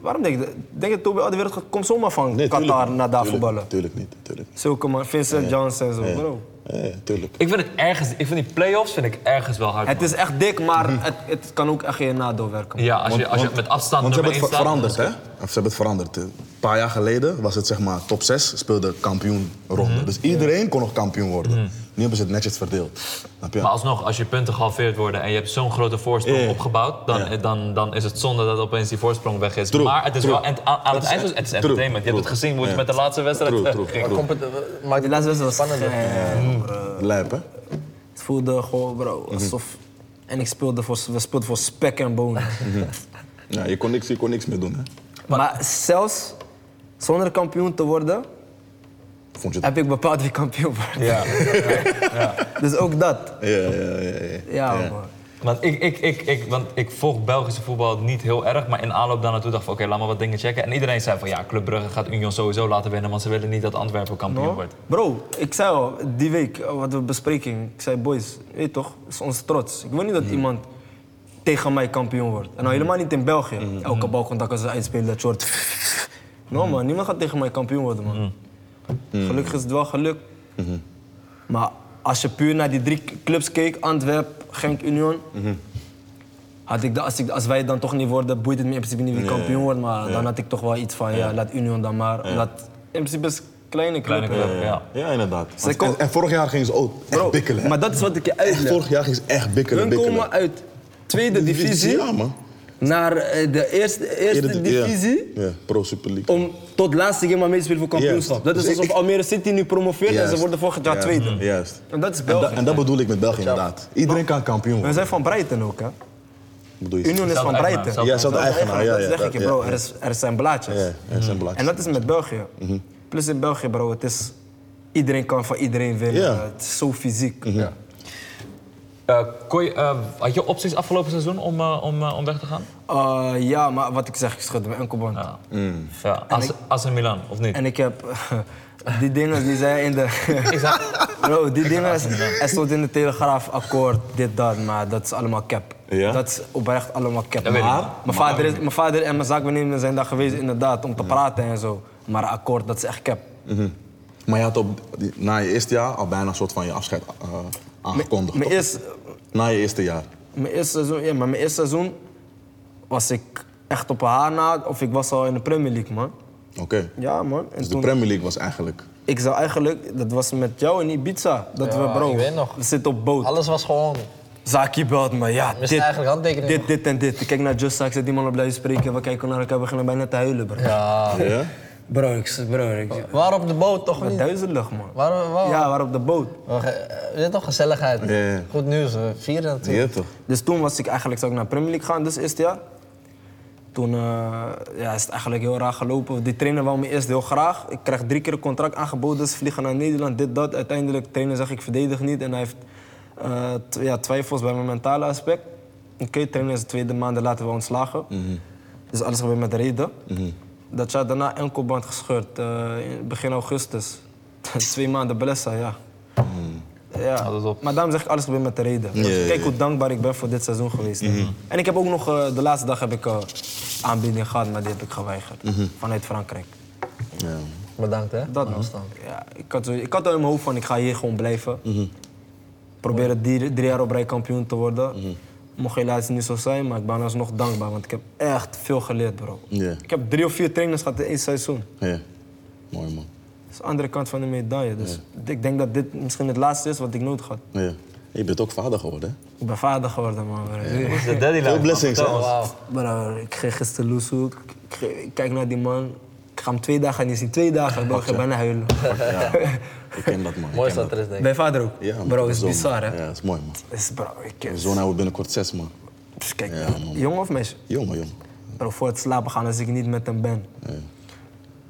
Waarom denk je dat? Denk je dat Tobi Alderweireld gaat- komt zomaar van Mhm. Nee, tuurlijk Qatar niet. naar daar Tuurlijk- voetballen? Tuurlijk niet, tuurlijk niet. Zulke man, Vincent Janssen en zo, bro. Ja, tuurlijk. Ik vind het ergens, ik vind die play-offs vind ik ergens wel hard. Het man. is echt dik, maar Mhm. het, het kan ook echt geen nadeel werken. ja, als je, Want- als je want- met afstand Want ze nummer hebben het één ver- staat, veranderd, hè? Of ze hebben het veranderd. Een paar jaar geleden was het zeg maar top 6 speelde kampioenronde. Mhm. Dus iedereen kon nog kampioen worden. Nu hebben ze het netjes verdeeld. Snap je? Maar alsnog, als je punten gehalveerd worden en je hebt zo'n grote voorsprong Ja. opgebouwd, dan, Ja. dan, dan is het zonde dat opeens die voorsprong weg is. True, Maar het is true. wel, en, aan, aan het is eind was echt- het is true, entertainment. Je true. hebt het gezien hoe het Ja. met de laatste wedstrijd True, eh, true, ging. true. Compet- eh, maakt De het laatste wedstrijd was spannender. geil, bro. Lijp, hè? Het voelde gewoon, Mhm. bro, alsof... En ik speelde voor, we speelden voor spek en <laughs> bonen. Ja, je kon niks, je kon niks meer doen, hè? maar zelfs zonder kampioen te worden, Vond je dat? heb ik bepaald wie kampioen wordt. Ja. Dus ook dat. Ja, ja, ja. ja, Ja, man. <laughs> Want ik, ik, ik, ik, want ik volg Belgische voetbal niet heel erg, maar in aanloop daar naartoe dacht ik van oké, laat maar wat dingen checken. En iedereen zei van ja, Club Brugge gaat Union sowieso laten winnen, want ze willen niet dat Antwerpen kampioen No? wordt. Bro, ik zei al, die week, eh, wat we bespreking. Ik zei, boys, weet toch, het is ons trots. Ik wil niet dat iemand tegen mij kampioen wordt. En nou helemaal niet in België. Elke balcontact als ze uitspelen, dat soort... <laughs> No man, niemand gaat tegen mij kampioen worden, man. Gelukkig is het wel geluk. Maar als je puur naar die drie clubs keek, Antwerp, Genk, Union... Had ik, da- als, ik, als wij dan toch niet worden, boeit het me in principe niet wie kampioen wordt. Maar dan had ik toch wel iets van, ja, laat Union dan maar. Laat, in principe is het kleine club. Kleine club, ja. Ja, inderdaad. Ze kon- en, en vorig jaar gingen ze ook echt Bro, bikkelen. hè? Maar dat is wat ik je echt, uitleg. vorig jaar gingen ze echt bikkelen. Hun bikkelen. komen uit tweede divisie Ja, man. naar eh, de eerste, eerste Eerder- ja. divisie. Ja, Pro Super League. Om tot laatste keer maar mee te spelen voor kampioenschap. Juist. Dat is Dus ik- alsof Almere City nu promoveert en ze Juist. worden volgend jaar Juist. tweede. Juist. En dat is En, België. dat- en dat bedoel ik met België, inderdaad. Iedereen kan kampioen We worden. zijn van Breiten ook, hè? Bedoel je? Union is van Zelfde eigenaar, Breiten. zelfde Ja, ze hadden eigenaar. Ja, dat ja, zeg ik je, ja, bro. ja. Er, is, er zijn blaadjes. Ja, Mhm. ja, zijn belangrijk. En dat is met België. Plus in België, bro, het is... Iedereen kan van iedereen winnen. Ja. Mhm. Het is zo fysiek. Eh, kon je, eh, had je opties afgelopen seizoen om, eh, om, eh, om weg te gaan? Eh, ja, maar wat ik zeg, ik schud mijn enkelband. Ja. Mm. ja. AC AC Milan, of niet? En ik heb <laughs> die dingen die zij in de. <laughs> Ik zag- Bro, die dingen. Er stond in de telegraaf akkoord, dit, dat, maar dat is allemaal cap. Ja? Dat is oprecht allemaal cap. Dat weet ik Maar niet. mijn vader, is, mijn vader en mijn zaakbenemer zijn daar geweest, inderdaad, om te praten en zo. Maar akkoord, dat is echt cap. Maar je had op, die- na je eerste jaar al bijna een soort van je afscheid eh, aangekondigd. Mijn toch? eerste, Na je eerste jaar. mijn eerste seizoen, ja, maar mijn eerste seizoen was ik echt op haar na, of ik was al in de Premier League, man. Oké. Ja, man. En Dus de toen- Premier League was eigenlijk. ik zou eigenlijk, dat was met jou in Ibiza, dat Ja, we, bro, ik weet nog. we zitten op boot. Alles was gewoon... Zaki belt me, ja, Wist dit, eigenlijk handtekening. dit, dit en dit. Ik kijk naar Just ik zet die man op blijven spreken. We kijken naar elkaar, we beginnen bijna te huilen, bro. Ja. Ja? Bro, ik zeg, bro, ik Waar op de boot toch Wat niet? duizelig, man. Waar, waar, Ja, we waren op de boot. We ge- eh, Dit is toch gezelligheid. Ja, ja. Goed nieuws, eh, we vieren natuurlijk. Ja, toch? Dus toen was ik eigenlijk, zou ik naar Premier League gaan, dus eerste jaar. Toen eh, ja, is het eigenlijk heel raar gelopen. Die trainer wou me eerst heel graag. Ik kreeg drie keer een contract aangeboden, dus vliegen naar Nederland, dit, dat. Uiteindelijk, trainer zegt ik verdedig niet en hij heeft eh, tw- ja, twijfels bij mijn mentale aspect. Oké, trainer is de tweede maand, laten we ontslagen. Dus alles gebeurt met reden. Dat jaar daarna enkelband gescheurd, eh, in begin augustus. <laughs> Twee maanden blessa, ja. Ja, dat is op. maar daarom zeg ik alles gebeurt met de reden. ja, ja. Mhm. Kijk hoe dankbaar ik ben voor dit seizoen geweest. En ik heb ook nog, eh, de Mhm. laatste dag heb ik eh aanbieding gehad, maar die heb ik geweigerd. Vanuit Frankrijk. Ja. Bedankt hè. Dat Aan man. afstand. Ja, ik, had, zo- ik had al in mijn hoofd van ik ga hier gewoon blijven. Mhm. Proberen drie, drie jaar op rij kampioen te worden. Mhm. Mocht helaas niet zo zijn, maar ik ben alsnog dankbaar. Want ik heb echt veel geleerd, bro. Ja. Ik heb drie of vier trainers gehad in één seizoen. Ja. Mooi man. Dat is de andere kant van de medaille. Dus ik denk dat dit misschien het laatste is wat ik nodig had. Ja. Je bent ook vader geworden, hè? Ik ben vader geworden, man. Bro. <laughs> is de deadline. Veel blessings, hè? Wauw. Bro, ik ging gisteren loesoe. Ik, ik- ik kijk naar die man. Ik ga hem twee dagen niet zien. Twee dagen, bro. Ik ga bijna huilen. <laughs> Ik ken dat man. ik Mooi ken dat er is denk ik. Mijn vader ook. Ja, man, bro, mijn is zoon, bizar, man. hè? Ja, is mooi man. Is bro, ik... Mijn zoon hij wordt binnenkort zes man. Dus kijk, Ja, man. jongen of meisje? Jongen, jongen. Bro, voor het slapen gaan als ik niet met hem ben.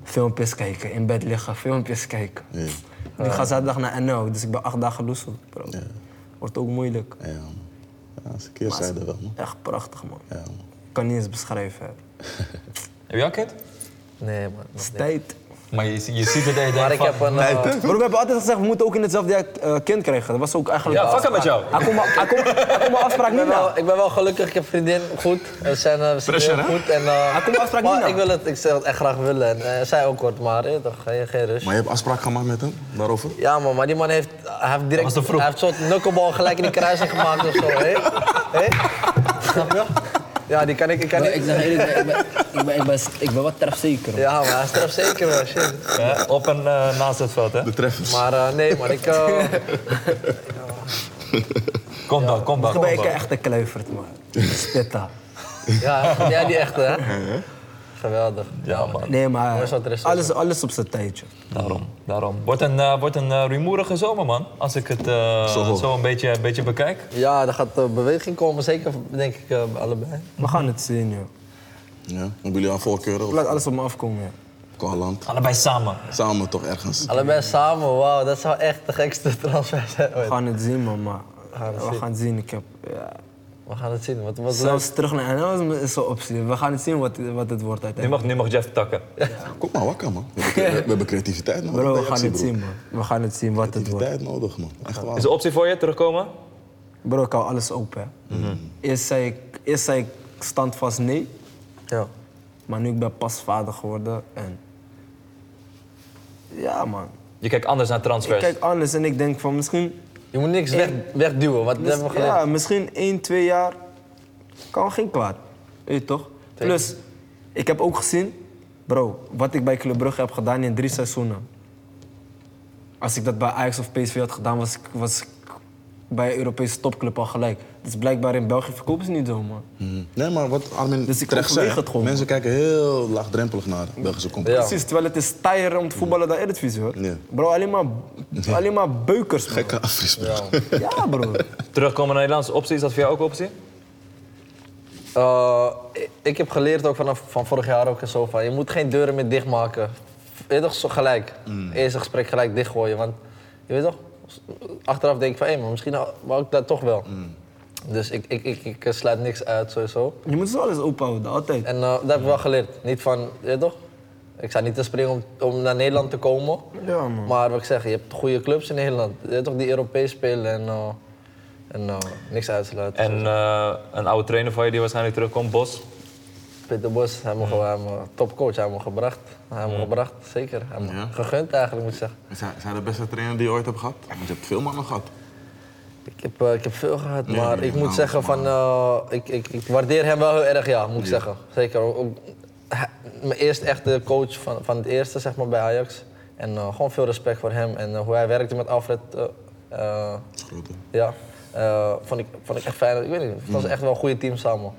Filmpjes kijken, in bed liggen, filmpjes kijken. Ja. Nu ga zaterdag naar NL, dus ik ben acht dagen loesel, bro. Wordt ook moeilijk. Ja, man. Ja, dat is een keer zijde wel, man. Echt prachtig, man. Ja, man. Kan niet eens beschrijven. hè. Heb je al kind? Nee man. nog Het niet. is tijd. Maar je, je ziet het dat je denkt Maar ik van- heb een... Ah. eh, Bro, we hebben altijd gezegd, we moeten ook in hetzelfde jaar eh, kind krijgen. Dat was ook eigenlijk... Ja, de fuck it met afspraak. jou. Hij kon mijn- Hij kon- hij kon mijn afspraak Ik niet ben, na. wel, ik ben wel gelukkig, ik heb een vriendin, goed. We zijn, eh, we zijn Pressure, heel goed. En, eh, Hij komt afspraak niet maar na. ik wil het, ik zou het echt graag willen. En, eh, zij ook hoort maar, eh, toch, geen, geen rust. Maar je hebt afspraak gemaakt met hem daarover? Ja man, maar die man heeft, hij heeft direct, was te vroeg. hij heeft een soort knucklebal gelijk in die kruising gemaakt of zo, hé? Hé? Snap je? Ja, die kan ik, ik kan Maar ik niet. zeg eerlijk, ik ben, ik ben, ik ben, ik ben, ik ben wat trefzeker. hoor. Ja maar hij straft zeker wel, shit. Ja, op en eh, naast het veld, hè? De treffers. Maar eh, nee man, ik, eh, Kom dan, kom dan, Ik kom ben ik dan. echt een kluivert, man. Spitta. ja, ja die echte hè. Geweldig. Ja, man. Nee, maar is wat er is, alles, alles op zijn tijdje. Daarom, daarom. Wordt een, eh wordt een eh, rumoerige zomer, man. Als ik het eh, Zo. zo, een beetje, een beetje bekijk. Ja, er gaat eh, beweging komen, zeker denk ik eh, bij allebei. We gaan het zien, joh. Ja. Hebben jullie al voorkeuren? Laat Of alles op me afkomen, ja. qua land? Allebei samen. Samen toch ergens? Allebei samen, wauw, dat zou echt de gekste transfer zijn ooit. We gaan het zien, man, maar Ah, eh, we zien. gaan het zien. Ik heb, ja. We gaan het zien. Wat, wat Zelfs terug naar NL is- is een optie. We gaan het zien wat, wat het wordt Nu uiteindelijk. mag, nu mag Jeff takken. Ah, Kom maar wakker, man. We hebben, <laughs> we hebben creativiteit nodig. Bro, bij we gaan Ajaxie, het broer. zien, man. We gaan het zien wat het wordt. Creativiteit nodig, man. Echt waar. Is de optie voor je terugkomen? Bro, ik hou alles open. hè. Mhm. Eerst, zei ik, eerst zei ik standvast nee, Ja. maar nu ik ben pas vader geworden en... Ja, man. Je kijkt anders naar Ik transfers. kijk anders en ik denk van misschien... Je moet niks weg, wegduwen, wat hebben we geleerd. Ja, misschien één, twee jaar kan geen kwaad. Weet je toch? Plus, ik heb ook gezien, bro, wat ik bij Club Brugge heb gedaan in drie seizoenen. Als ik dat bij Ajax of PSV had gedaan, was ik, was ik bij een Europese topclub al gelijk. Dus blijkbaar in België verkopen ze niet zo, man. Mm. Nee, maar wat Armin Dus ik terecht zei, overweeg het gewoon, mensen kijken heel laagdrempelig naar Belgische competitie. Precies, terwijl het is taaier om te voetballen dan Eredivisie, hoor. Ja. Bro, alleen maar, alleen maar beukers, man. Gekke afrismen. <laughs> Ja, bro. Terugkomen naar Nederlandse optie, is dat voor jou ook een optie? Eh, ik- ik heb geleerd ook vanaf van vorig jaar ook en zo van, je moet geen deuren meer dichtmaken. Weet je toch, zo gelijk. Eerste gesprek gelijk dichtgooien, want je weet toch, achteraf denk ik van, hé, maar misschien wou ik dat toch wel. Dus ik, ik, ik, ik sluit niks uit sowieso. Je moet zo alles openhouden, altijd. En eh, dat heb ik wel geleerd. Niet van, je weet toch? Ik sta niet te springen om, om naar Nederland te komen. Ja, man. Maar wat ik zeg, je hebt goede clubs in Nederland. Je weet toch, die Europees spelen en, eh, en eh, niks uitsluiten. En eh, een oude trainer van je die waarschijnlijk terugkomt, Bos. Peter Bos, hij heeft me topcoach, hij heeft me gebracht. Hij heeft me gebracht, zeker. Hij heeft me Ja. gegund eigenlijk, moet ik zeggen. Is hij, is hij de beste trainer die je ooit hebt gehad? Want je hebt veel mannen gehad. Ik heb, eh, ik heb veel gehad, Ja, maar ja, ik moet nou, zeggen van... eh, ik, ik, ik waardeer hem wel heel erg, ja, moet ik zeggen. Zeker. Ook- hij- mijn eerste echte coach van, van het eerste, zeg maar, bij Ajax. En eh, gewoon veel respect voor hem en eh, hoe hij werkte met Alfred. eh, eh, Dat is groot, hè? ja, eh, vond, ik, vond ik echt fijn. Ik weet niet, het was Mm. echt wel een goede team samen.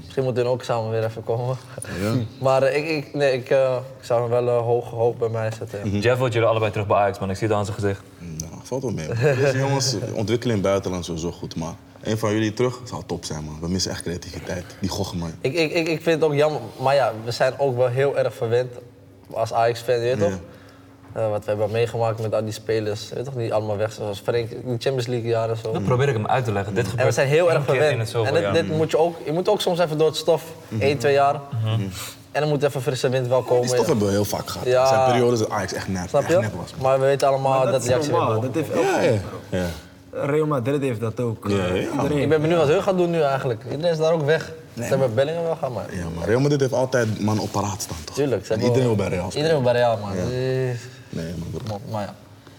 Misschien moeten we ook samen weer even komen. <laughs> maar eh, ik, ik, nee, ik, eh, ik zou hem wel eh, hoog, hoog bij mij zetten. ja. Jeff wil jullie allebei terug bij Ajax, man. Ik zie het aan zijn gezicht. Nou, valt wel <laughs> mee. man. Deze jongens ontwikkelen in het buitenland sowieso goed. Maar een van jullie terug zou top zijn, man. We missen echt creativiteit. Die gochen, man. Ik, ik, ik, ik vind het ook jammer, maar ja, we zijn ook wel heel erg verwend als Ajax-fan, weet je Ja. toch? Eh, wat we hebben meegemaakt met al die spelers, weet je toch, die allemaal weg zijn, zoals Frenk, in de Champions League jaren zo. Dan probeer ik hem uit te leggen. Dit gebeurt En we zijn heel één erg keer in het verwend. zoveel En dit, jaar. dit moet je ook, je moet ook soms even door het stof, Mhm. één, twee jaar. En dan moet even frisse wind wel komen. Die stof ja. hebben we heel vaak gehad. Ja. Er zijn periodes dat Ajax echt nep, Snap echt je? nep was. man. Maar we weten allemaal dat dat Ajax is weer normaal, boven dat komt. heeft elke Ja, ja. ja. Real Madrid heeft dat ook. Ja, ja. Iedereen. Ik ben benieuwd wat hun gaat doen nu eigenlijk. Iedereen is daar ook weg. Ze hebben Bellingham wel gehad, man. Ja, maar Real Madrid heeft altijd man op paraat staan, toch? Tuurlijk. Ze En hebben iedereen wil wel- bij Real spelen. Iedereen wil bij Real, man. Eh, Nee, man. broer. Maar, maar ja.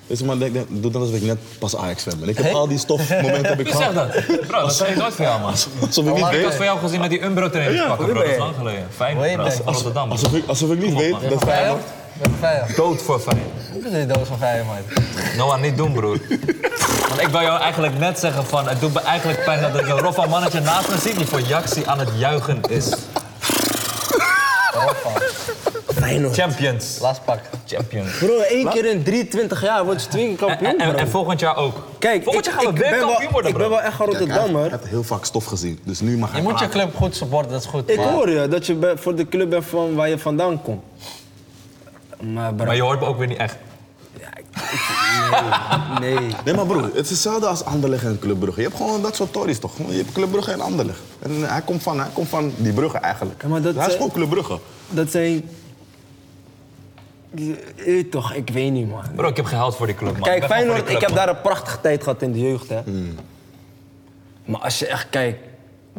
Weet je, maar denk- denk- doe dat alsof ik net pas Ajax fan ben. Ik heb al die stofmomenten <laughs> heb ik Wie zegt gehad. dat? Bro, dat zei ik nooit van jou, man. Alsof ik niet Ik weet. had van jou gezien met die umbro training pakken, bro. Dat is lang geleden. Fijn, Hoe heet bro. dat? Als- Rotterdam. bro. Alsof ik, alsof ik niet weet dat Feyenoord... Feyenoord? Met Feyenoord. Dood voor fijn. Hoe is die doos van Feyenoord, man? Noah, niet doen, <laughs> broer. Want ik wou jou eigenlijk net zeggen van... Het doet me eigenlijk pijn dat ik een roffa mannetje naast me zit... die voor Jaxi aan het juichen is. Feyenoord. Champions. Last pak. Champions. Bro, één keer in 23 jaar word je twee keer En, en, kampioen, en bro. volgend jaar ook. Kijk, volgend ik, jaar gaan ik we weer ben wel, kampioen worden, ik ben bro. wel echt een Ik Rotterdammer. heb heel vaak stof gezien, dus nu mag Je hij moet je praten. club goed supporten, dat is goed. Ik Maar- hoor je dat je bij- voor de club bent van waar je vandaan komt. Maar bro, Maar je hoort me ook weer niet echt. nee. Nee, maar broer, het is hetzelfde als Anderlecht en Club Brugge. Je hebt gewoon dat soort tories, toch? Je hebt Club Brugge en Anderlecht. En eh, hij komt van, hij komt van die bruggen eigenlijk. Ja, maar dat, hij is eh, gewoon Club Brugge. Dat zijn... Je weet toch, ik weet niet, man. Bro, ik heb gehaald voor die club, man. Ik Kijk, ben gewoon voor die Feyenoord, ik heb club, Mm. daar een prachtige tijd gehad in de jeugd, hè. Maar als je echt kijkt...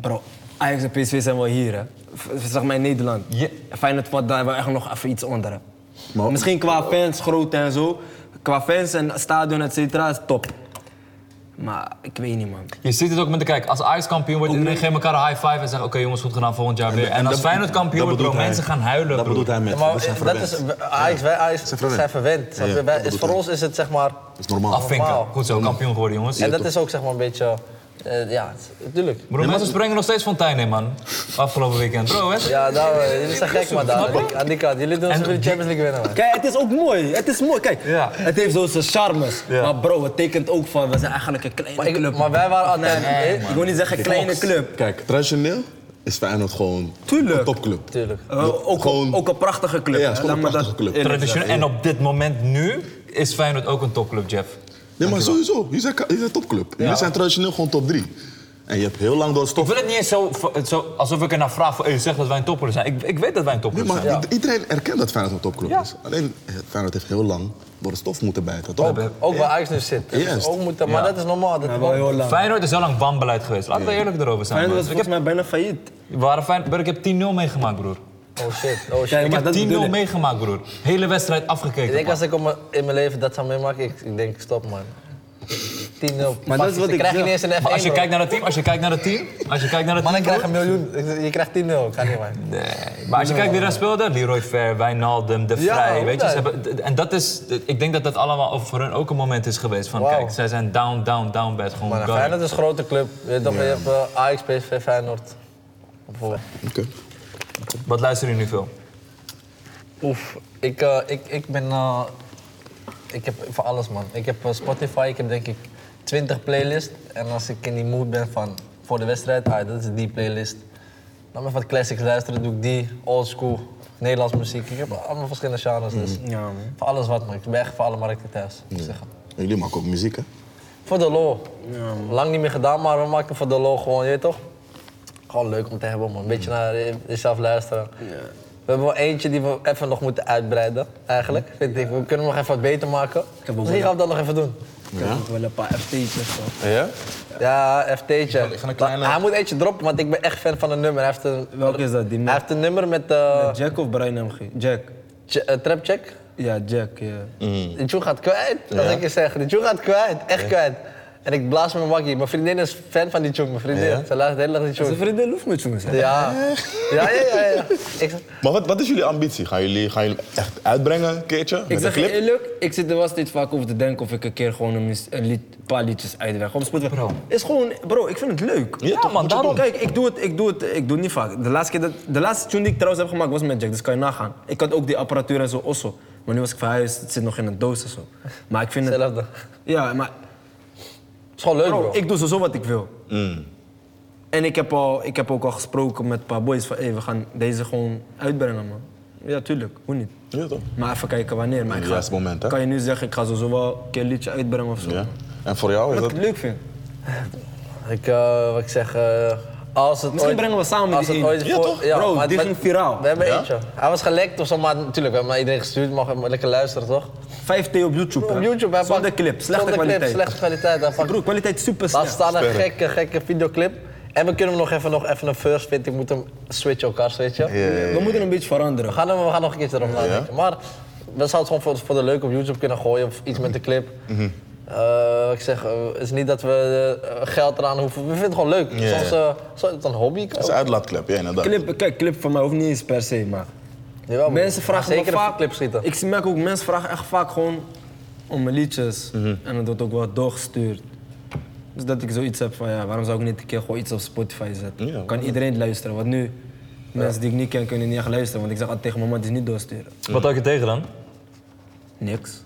Bro, Ajax en PSV zijn wel hier, hè. V- Zeg maar in Nederland. Ja. Feyenoord valt daar wel echt nog even iets onder, hè. Maar- Misschien qua fans, groot en zo. Qua fans en stadion, et cetera, is top. Maar ik weet niet, man. Je ziet het ook met de kijk. Als Ajax kampioen wordt, iedereen geeft elkaar een high five en zegt: Oké jongens, goed gedaan volgend jaar weer. En, als Feyenoord kampioen wordt, bro, bedoelt hij. mensen gaan huilen. Dat bro. bedoelt hij met, Ja, maar we zijn dat verwend. is, Ajax, wij Ajax Zijn verwend. zijn verwend. snap Ja, je? ja, Wij- dat is, voor bedoel ons is het zeg maar... Dat is normaal. Afvinken. Normaal. Goed zo, kampioen geworden jongens. En dat is ook zeg maar een beetje... eh, ja, natuurlijk. Bro, mensen springen nog steeds fonteinen in, man. Afgelopen weekend. Bro, hè? Ja, nou, eh, jullie zijn gek maar daar. Ik- Aan die kant. Jullie doen En- ze de Champions League winnen, man. Kijk, het is ook mooi. Het is mooi. Kijk, Ja. het heeft zo zijn charmes. Maar bro, het tekent ook van, we zijn eigenlijk een kleine Maar, ik- club. maar wij waren altijd... Nee, eh, ik wil niet zeggen kleine club. Kijk, traditioneel is Feyenoord gewoon Tuurlijk. een topclub. Tuurlijk. Eh, ook, Gewoon- ook een prachtige club. Ja, het is hè. gewoon Laat een me prachtige dat club. eerlijk Traditioneel. En op dit moment nu is Feyenoord ook een topclub, Jeff. Nee, maar sowieso. Jullie zijn, jullie zijn topclub. Jullie zijn traditioneel gewoon top 3. En je hebt heel lang door Ik stof. wil het niet eens zo, zo alsof ik ernaar vraag van, hey, zeg dat wij een topclub zijn. Ik, ik weet dat wij een Nee, topclub maar zijn. i- iedereen erkent dat Feyenoord een topclub is. Alleen eh, Feyenoord heeft heel lang door de stof moeten bijten, toch? Ook waar Ajax nu zit. Dat is Juist. ook moeten, maar Ja. dat is normaal. Dat Ja, wel heel lang. Feyenoord is heel lang wanbeleid geweest. Laten we eerlijk erover zijn. Feyenoord was man. Ik heb, volgens mij bijna failliet. waren Feyenoord, bro, ik heb 10-0 meegemaakt, broer. Oh shit, oh shit. ik Kijk, maar heb- Ik heb dat 10-0 bedoel ik. meegemaakt, broer. Hele wedstrijd afgekeken. ik denk man. als ik op mijn- in mijn leven dat zou meemaken, ik, ik denk stop, man. 10-0. Maar dat is wat ik krijg je zeg. niet eens een F1. Maar als je hoor. kijkt naar het team, als je kijkt naar het team, als je kijkt naar het Mannen team, krijgen een miljoen. Ik- Je krijgt 10-0, kan niet, man. Nee, maar als je kijkt wie daar speelde, Leroy Ver, Wijnaldum, De Ja, Vrij, weet je, ze inderdaad. hebben, d- en dat is, d- ik denk dat dat allemaal voor hun ook een moment is geweest van, Wauw. kijk, zij zijn down, down, down bad, gewoon Maar going. Feyenoord is een grote club. Je, weet toch, je hebt eh, Ajax, PSV, Feyenoord. Bijvoorbeeld. Oké. Wat luisteren jullie nu veel? Oef, ik, eh, ik, ik ben... eh, ik heb van alles, man. Ik heb eh, Spotify, ik heb denk ik 20 playlists. En als ik in die mood ben van voor de wedstrijd, ah, dat is die playlist. Dan maar wat classics luisteren, doe ik die. Old school, Nederlands muziek. Ik heb allemaal verschillende genres, dus Mm. Ja, man. van alles wat, man. Ik ben echt voor alle markten thuis, moet ik zeggen. En Jullie maken ook muziek, hè? Voor de lol. Lang niet meer gedaan, maar we maken voor de lol gewoon, je weet toch? Gewoon leuk om te hebben, man. Een beetje naar je- jezelf luisteren. We hebben wel eentje die we even nog moeten uitbreiden, eigenlijk. Vind ik. We kunnen hem nog even wat beter maken. wel Misschien gaan we dat nog even doen. Ik heb nog wel een paar FT'tjes. hoor. Ja? Ja, FT'tje. ga een kleine- Maar Hij moet eentje droppen, want ik ben echt fan van een nummer. Hij heeft een, Welke is dat, die hij met heeft een nummer met eh Jack of Brian MG? Jack. ch- eh, Trapcheck. Ja, Jack, ja. Die tune gaat kwijt, als ik je zeg. Die tune gaat kwijt, echt kwijt. En ik blaas met mijn makkie. Mijn vriendin is fan van die tune, mijn vriendin. Ze luistert de hele dag die tune. Zijn vriendin hoeft met jongens, hè? <laughs> Ja. Ja, ja, ja. ja. Ik zeg, Maar wat, wat is jullie ambitie? Gaan jullie, gaan jullie echt uitbrengen een keertje? Met Ik zeg een je clip? eerlijk, ik zit er wel steeds vaak over te denken of ik een keer gewoon een, mis- een lied, paar liedjes uitweg. Op Spotify. Bro. Is gewoon, bro, ik vind het leuk. Ja, toch, moet je doen. Kijk, ik doe, het, ik, doe het, ik doe het niet vaak. De laatste, keer dat, de laatste tune die ik trouwens heb gemaakt was met Jack, dus kan je nagaan. Ik had ook die apparatuur en zo, osso. Maar nu was ik verhuisd, het zit nog in een doos en zo. Maar ik vind het... hetzelfde. Ja, maar Het is gewoon leuk, bro, bro. ik doe sowieso wat ik wil. Mm. En ik heb, al, ik heb ook al gesproken met een paar boys van, hey, we gaan deze gewoon uitbrengen, man. Ja, tuurlijk, hoe niet? Ja, toch? Maar even kijken wanneer. Maar ik Het ga- juiste moment, hè? Kan je nu zeggen, ik ga sowieso wel een keer een liedje uitbrengen of zo. Ja. En voor jou is Wat dat... ik leuk vind. Ik, eh, wat ik zeg, eh, als het Misschien ooit- brengen we samen als die het ene. ooit Ja, voor- toch? Bro, die maar- ging viraal. We hebben Ja? eentje. Hij was gelekt of zo, maar natuurlijk, we hebben naar iedereen gestuurd. Mag mag lekker luisteren, toch? 5T op YouTube. Op hè? YouTube, hij Zonder pakt- clip, slechte zonder kwaliteit. slechte kwaliteit. Hij pakt- Bro, kwaliteit super Laat slecht. staan een gekke, gekke videoclip. En we kunnen hem nog even, nog even een first fit. Ik moet hem switchen, elkaar switchen. We moeten een beetje veranderen. We gaan, hem- we gaan nog een keertje erover nadenken. Maar we zouden het gewoon voor, voor de leuk op YouTube kunnen gooien of iets met de clip. Mhm. Eh, ik zeg, eh, het is niet dat we eh, geld eraan hoeven. We vinden het gewoon leuk. ja. Soms eh, zo- het is een hobby. Dat is een uitlaatklep, ja, inderdaad. Clip, kijk, clip van mij hoeft niet eens per se, maar... Jawel, maar mensen vragen zeker me een vaak... clip schieten. Ik merk ook, mensen vragen echt vaak gewoon om mijn liedjes. En het wordt ook wel doorgestuurd. Dus dat ik zoiets heb van, ja, waarom zou ik niet een keer gewoon iets op Spotify zetten? Ja, kan iedereen luisteren, want nu... Mensen die ik niet ken, kunnen niet echt luisteren, want ik zeg altijd tegen mijn man, die is niet doorsturen. Wat hou je tegen dan? Niks.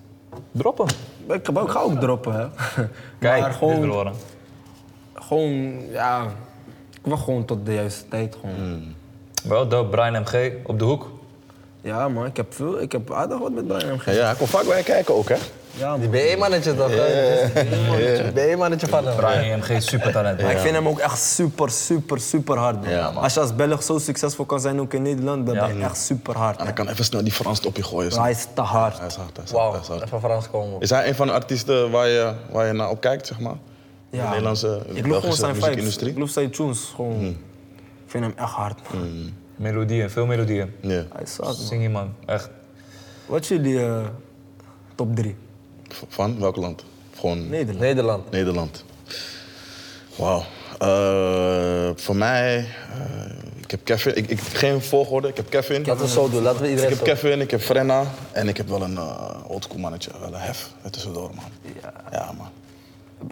Droppen. Ik, heb ook- ik ga ook droppen, <laughs> hè. Kijk, maar dit wil gewoon, horen. gewoon, ja... Ik wacht gewoon tot de juiste tijd, gewoon. Wel dope, Brian MG op de hoek. Ja, man, ik heb veel, ik heb aardig wat met Brian MG. Ja, ja, hij komt vaak bij je kijken ook, hè? Ja, man. Die BE-mannetje toch? Yeah. BE-mannetje van hem. Brian MG, super talent. Maar ik vind hem ook echt super, super, super hard. man. Ja, man. als je als Belg zo succesvol kan zijn ook in Nederland, dan Ja. ben je echt super hard. En hij kan even snel die Frans op je gooien. Hij snap je? is te hard. Hij is hard, hij is hard, Wauw, hij is hard. even Frans komen. Is hij een van de artiesten waar je, waar je naar op kijkt, zeg maar? Ja. De Nederlandse, de ik loop gewoon Belgische zijn vibes. muziekindustrie? Hmm. Ik loop zijn tunes. Gewoon. Ik vind hem echt hard. man. Melodieën, veel melodieën. Ja. Hij is hard, man. Zing je man, echt. Wat is jullie eh, top 3? V- Van welk land? Gewoon Nederland. Nederland. Nederland. Wauw. Eh, voor mij, eh, ik heb Kevin. Ik, ik, geen volgorde, ik heb Kevin. Laten we zo doen, laten we Ik iedereen heb zo. Kevin, ik heb Frenna en ik heb wel een eh oldschool mannetje, wel een hef. Het is door, man. Ja, man.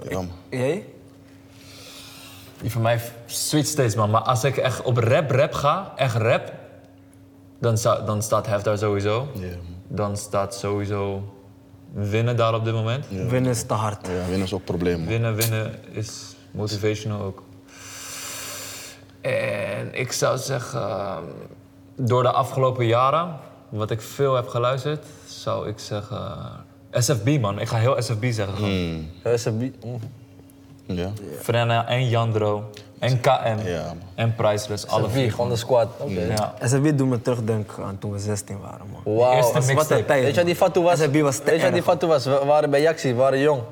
Ja, man. Jij? Die van mij switcht steeds man, maar als ik echt op rap rap ga, echt rap, dan, sta- dan staat Hef daar sowieso. Ja, man. Dan staat sowieso winnen daar op dit moment. Winnen is te hard. Ja, winnen is ook een probleem, man. Winnen, winnen is motivational ook. En ik zou zeggen, ehm, door de afgelopen jaren, wat ik veel heb geluisterd, zou ik zeggen. SFB man, ik ga heel SFB zeggen. Hmm. gewoon. Dat is een bi- mm. Ja. Frenna en Jandro en KM Ja, man. en Priceless, alle Wie, vier. gewoon de squad. Oké. Ja. SFB doet me terugdenken aan toen we 16 waren, man. Wauw. Als- Eerste mix- Wat een mixtape. tijd. Oh, Weet je wat die Fatou was? SFB was te Weet je wat die erg. Mhm. Fatou was? We waren bij Jaxi, we waren jong.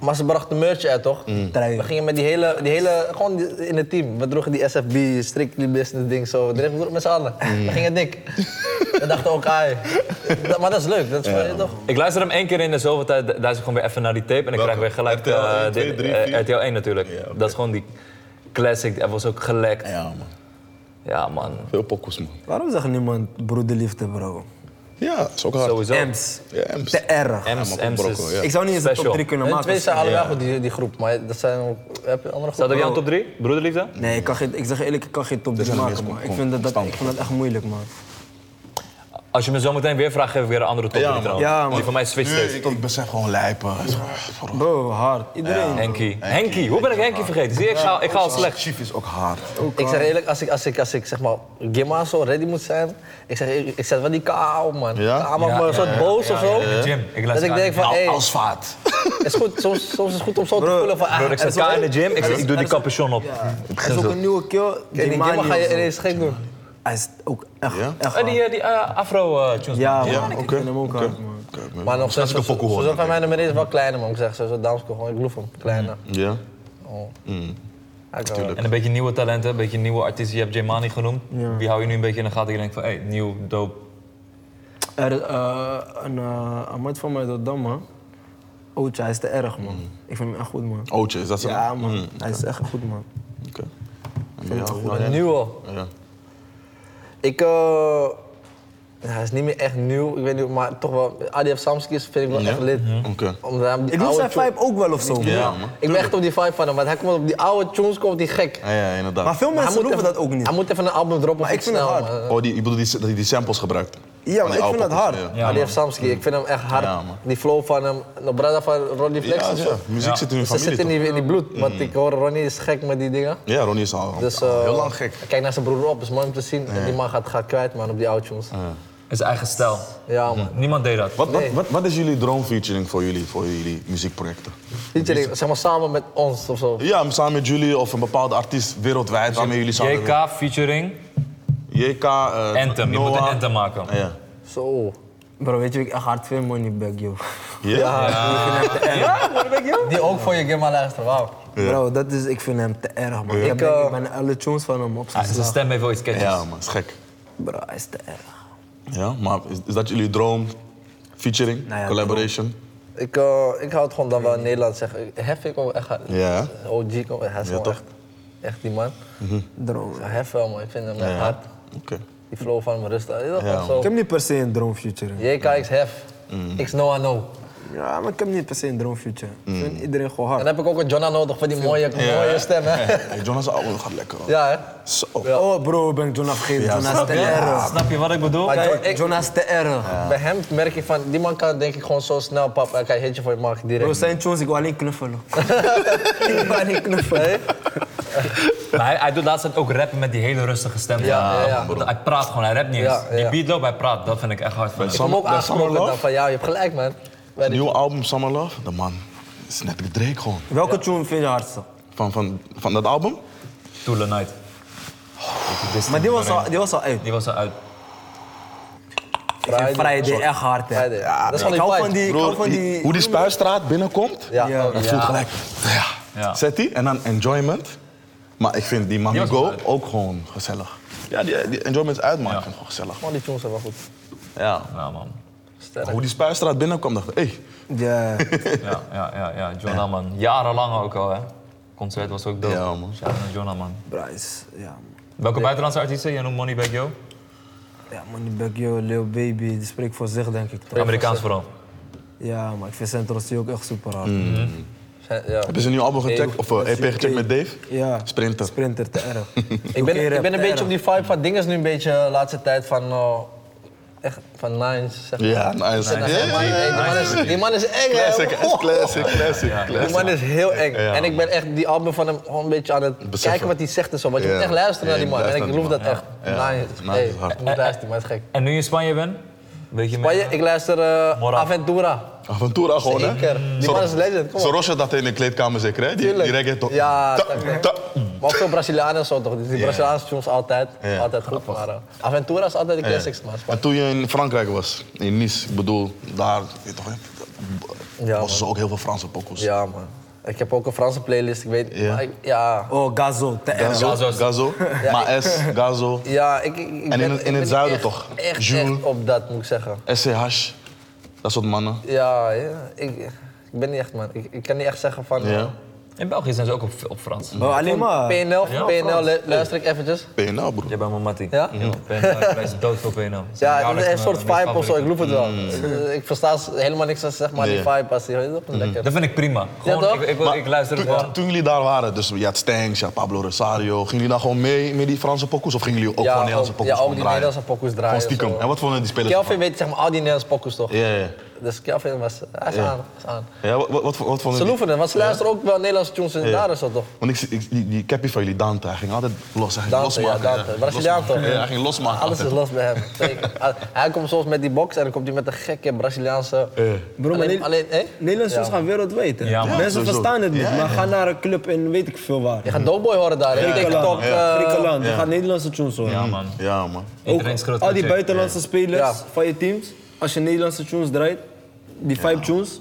Maar ze brachten merch uit, toch? Trui. We gingen met die hele, die hele, gewoon die- in het team. We droegen die SFB, strictly business ding, zo. We Mhm. droegen het met z'n allen. We gingen dik. we dachten ook, ai. Dat- Maar dat is leuk, dat is voor je toch? Ik luister hem één keer in de zoveel tijd, du- luister ik gewoon weer even naar die tape en ik krijg weer gelijk RTL 1, eh, 2, dit- 3, eh, 4? RTL 1 natuurlijk. Ja, oké. Dat is gewoon die classic, dat was ook gelekt. Ja, ja, man. man, Veel pokoes, man. Waarom zegt niemand broederliefde, bro? Ja, is ook hard. sowieso. Ems. Ja, Ems. Te erg. Ja, Ems, man, Ems Brokko, is... ja. Ik zou niet eens een top Special. 3 kunnen En maken. twee zijn allebei goed, die, die groep. Maar dat zijn ook, heb je andere Staat groepen? ook jou op top 3, broederliefde? Nee, ik, kan geen, ik zeg eerlijk, ik kan geen top 3 zijn maken, de meest man. Ik vind dat, dat, ik vind dat echt moeilijk, man. Als je me zo meteen weer vraagt, geef ik weer een andere top Ja, 3 man. trouwens. Ja, man. Die van mij switcht Nee, steeds. ik, ik besef gewoon lijpen. Het is gewoon- Bro, Bro, hard. Iedereen. Henkie. Henkie, hoe ben ik Henkie vergeten? Zie, je, ik ga, ik ga al slecht. Chief is ook hard. Ik zeg eerlijk, als ik, als ik, als ik zeg maar Gimma zo ready moet zijn, ik zeg eerlijk, ik zet wel die KA op man. Ja? KA maakt Ja, me een ja, soort ja, boos ja, of ja, zo. ja, ja. Jim, ik dat luister ik aan denk die- van, hé, Als vaat. is goed, soms, soms is het goed om zo te voelen van, ah, Broer, ik er zet is K wel- in de gym, ik, ik doe die capuchon op. Er is ook een nieuwe kill. Kijk, die Gimma ga je Dimani of ineens zo. gek doen. Hij is ook echt, Ja? echt Eh, die hard. eh, die eh, afro-tunes. Ja, Ja, man. oké. Ik vind hem ook hard, man. Maar nog steeds, ik een pokoe zo hoor. van mij nummer is wel kleiner man, ik zeg zo, zo Damsko, gewoon, ik loef hem, kleiner. Ja. Hij kan wel. En een beetje nieuwe talenten, een beetje nieuwe artiesten. Je hebt Jemani genoemd. Wie hou je nu een beetje in de gaten? Ik denk van, hé, nieuw, dope. Er is eh, een eh, een maat van mij dat dan, man. Ootje, hij is te erg, man. Mm. Ik vind hem echt goed, man. Ootje, is dat zo? Hm, Ja, man. Hij is echt goed, man. Oké. En bij jou? Maar nieuwe. Ja. Ik, eh ja, hij is niet meer echt nieuw, ik weet niet, maar toch wel, ADF Samski is, vind ik wel Ja? Mhm. echt lid. Oké. Omdat hij die Ik doe oude zijn tune- vibe ook wel of zo, man. Ja, man. Ik ben echt op die vibe van hem, want hij komt op die oude tunes, komt die gek. Ja, ja, inderdaad. Maar veel Maar hij mensen moet roepen even- dat ook niet. Hij moet even een album droppen Maar of ik iets vind het snel, hard. man. Oh, die, ik bedoel die, dat hij die samples gebruikt. maar Van die ik oude vind dat poppers, hard. Ja, Maar die heeft Samski, ik vind hem echt hard. Ja, man. die flow van hem, de brada van Ronnie Flex. ja, en zo. ja. muziek Ja. zit in je Ze familie zitten in toch? Mm. die, in die bloed, want ik hoor Ronnie is gek met die dingen. Ja, Ronnie is al Dus, al eh, heel lang gek. hij kijkt naar zijn broer op, is mooi om te zien. En Die man gaat, gaat kwijt man op die oudtunes. Ja. Is eigen stijl. man. Niemand deed dat. Wat, nee. wat, wat, wat is jullie droomfeaturing voor jullie, voor jullie muziekprojecten? Featuring, zeg maar samen met ons of zo. Ja, samen met jullie of een bepaalde artiest wereldwijd waarmee jullie samen JK featuring JK eh, Anthem. Je moet een Noah. Ah, Anthem maken. Ja. Zo. Bro, weet je wat ik echt hard vind? Moneybag, joh. Die ook voor je game aan luisteren, wauw. Bro, dat is, ik vind hem te erg, man. Ik, Ik, ben, ik eh, ben alle tunes van hem Ah, opgeslagen. zijn stem heeft wel iets catchies. Ja, man, is gek. Bro, hij is te erg. Ja, maar is, is dat jullie droom? Featuring, Nou ja, collaboration? Ik, eh, ik hou het gewoon dan wel in Nederland zeggen. Heffing komt echt uit. Ja. OG komt hij is Ja, gewoon toch? echt, echt die man. Droom. Ja, Hef wel, man. Ik vind hem echt hard. Oké. Die flow van hem rustig. Ja, Ja, Ik heb niet per se een droom future. JKX Hef. Mm. X Noah No. Ja, maar ik heb niet per se een droom future. Ik vind iedereen gewoon Dan hard. heb ik ook een Jonna nodig voor die mooie, mooie stem, <laughs> hè. Hey, Jonas' album gaat lekker, hoor. Ja, hè. Zo. Oh, bro, ben ik Jonah vergeten. Ja, Jonah is snap te je? erg. Snap je wat ik bedoel? Maar Kijk, Jon- ik- Jonah is te erg. Bij hem merk ik van, die man kan denk ik gewoon zo snel, pap, hij kan hitje voor je markt Bro, direct. zijn tunes, ik wil alleen knuffelen. <laughs> ik wil alleen knuffelen. Hey? Maar hij, hij doet laatst tijd ook rappen met die hele rustige stem. Ja, ja, ja. Want Hij praat gewoon, hij rapt niet eens. Ja, ja. Die beat loopt, hij praat. Dat vind ik echt hard van hem. Ik heb hem ook Bij Summer aangesproken Love? dan van, ja, je hebt gelijk, man. Bij die- Nieuwe album, Summer Love. De man is net de Drake gewoon. Welke tune vind je hardste? Van, van, van dat album? Tula Night. Maar die was al, die was al uit. Die was al uit. Ik vind Friday. Friday echt hard, hè. Friday. Dat is van Ik die hou vibe. van die... Ik hou Broer, van die- die... hoe die spuistraat binnenkomt, Ja, Ja. oh, dat ja. voelt gelijk. Ja. Ja. Zet die en dan enjoyment. Maar ik vind die Die Mami was Go leuk. ook gewoon gezellig. Ja, die, die enjoyment uitmaken. Ja. vind ik gewoon gezellig. Man, die tunes zijn wel goed. Ja. Nou man. Sterk. Hoe die spuistraat binnenkwam, dacht ik, hé. Hey. Ja. Ja, ja, ja, ja. John Hammond. Jarenlang ook al hè. Concert was ook dope. Ja, man. Shout out naar John Hammond. Bryce, ja, man. Welke buitenlandse artiesten? Jij noemt Moneybag Yo? Ja, Moneybag Yo, Lil Baby, die spreekt voor zich, denk ik. toch? Amerikaans vooral. Ja, maar ik vind Centros die ook echt super hard. Mm. Ja. Heb je zijn nieuwe album gecheckt? Mm. Of eh, EP gecheckt met Dave? Ja. Sprinter. Sprinter, te <laughs> erg. Ik ben, ik ben een beetje op die eh, vibe van dingen is nu een beetje de laatste tijd van. eh, echt van Nines. Zeg. maar. Ja, nou, nice. Ja, Die man- ja, ja. die man is- Die man is eng, hè? Classic, is classic, classic, Die man classic. is heel eng. Ja, en ik ben echt die album van hem gewoon een beetje aan het Beseffen. kijken wat hij zegt en zo. Want je Ja. moet echt luisteren naar Ja, die je man. En moet ik geloof dat luisteren echt. naar die man. Ja. Nines. Nines hey, is hard. Ik moet luisteren, maar het is gek. En nu je in Spanje bent? Weet je Maar je- meer? ik luister eh, Moral. Aventura. Aventura gewoon, hè? Zeker. Die man is legend. Kom Zo op. Roche dat in de kleedkamer zeker, hè? Die, die Tuurlijk. reggae toch? Ja, Ta- dat is- ta- Maar ook veel Brazilianen en zo toch? Die Braziliaanse tunes altijd. Hm. Ja. Altijd goed. Maar, eh, Aventura is altijd de classics, man. En toen je in Frankrijk was, in Nice, ik bedoel, daar, weet toch, hè, Ja, was man. er ook heel veel Franse pokkels. Ja, man. Ik heb ook een Franse playlist, ik weet. Ja. maar ik- ja. Oh, Gazo, te erg. Gazo, Gazo's. <laughs> Gazo, Maes, Gazo, ja, ik, ik, ik ben, in het- ik ben in het niet zuiden echt- toch? Echt, Jules. echt op dat, moet ik zeggen. SCH, dat soort mannen. Ja, ja ik, ik ben niet echt, man. Ik, ik kan niet echt zeggen van. eh, Ja. In België zijn ze ook op, op Frans. Oh, alleen maar. PNL, Ja, PNL Frans. lu- luister ik eventjes. PNL, broer. Jij bent mijn mattie. Ja? PNL, ik luister dood voor PNL. Ja, dat is een soort vibe of zo, ik loop. loef het wel. Eh, Ik versta s- helemaal niks als zeg maar die Nee. vibe als die. weet je wel, Lekker. Dat vind ik prima. Gewoon, toch? ik, ik, ik luister het toen, gewoon. toen jullie daar waren, dus je had Stanks, je had Pablo Rosario, gingen jullie dan gewoon mee met die Franse pokkels? Of gingen jullie Ja, ook gewoon Nederlandse ook- pokkels ja, ook gewoon die draaien? Nederlandse pokkels draaien, Gewoon stiekem. zo. En wat vonden die spelers Kelvin ervan? weet zeg maar al die Nederlandse pokus toch? Ja, ja. Dus Kelvin was. Hij is aan. hij is aan. ja wat, wat, wat vonden Ze die? loeven het, want ze luisteren ook wel Nederlandse tunes en daar is dat toch? Want ik, zie- ik, die, die cappy van jullie, Dante, hij ging altijd los. Hij ging Dante, losmaken. ja, Dante. Braziliaan Losmaken. toch? Ja, hij ging losmaken. Alles is altijd. los bij hem. Zeker. Ah, hij komt soms met die box en dan komt hij met een gekke Braziliaanse. Bro, maar alleen, Ne- alleen, hè? Nederlandse Ja, shows gaan wereldwijd. hè. Ja, man. Mensen Sowieso. verstaan het niet, Ja, maar ga naar een club en weet ik veel waar. Je gaat Doughboy horen daar, hè? TikTok. Griekenland, eh, Griekenland. Je gaat Nederlandse tunes horen. Ja, man. Ja, man. Iedereen is groot al die met je. buitenlandse spelers Ja. van je teams, als je Nederlandse tunes draait, die vibe tunes,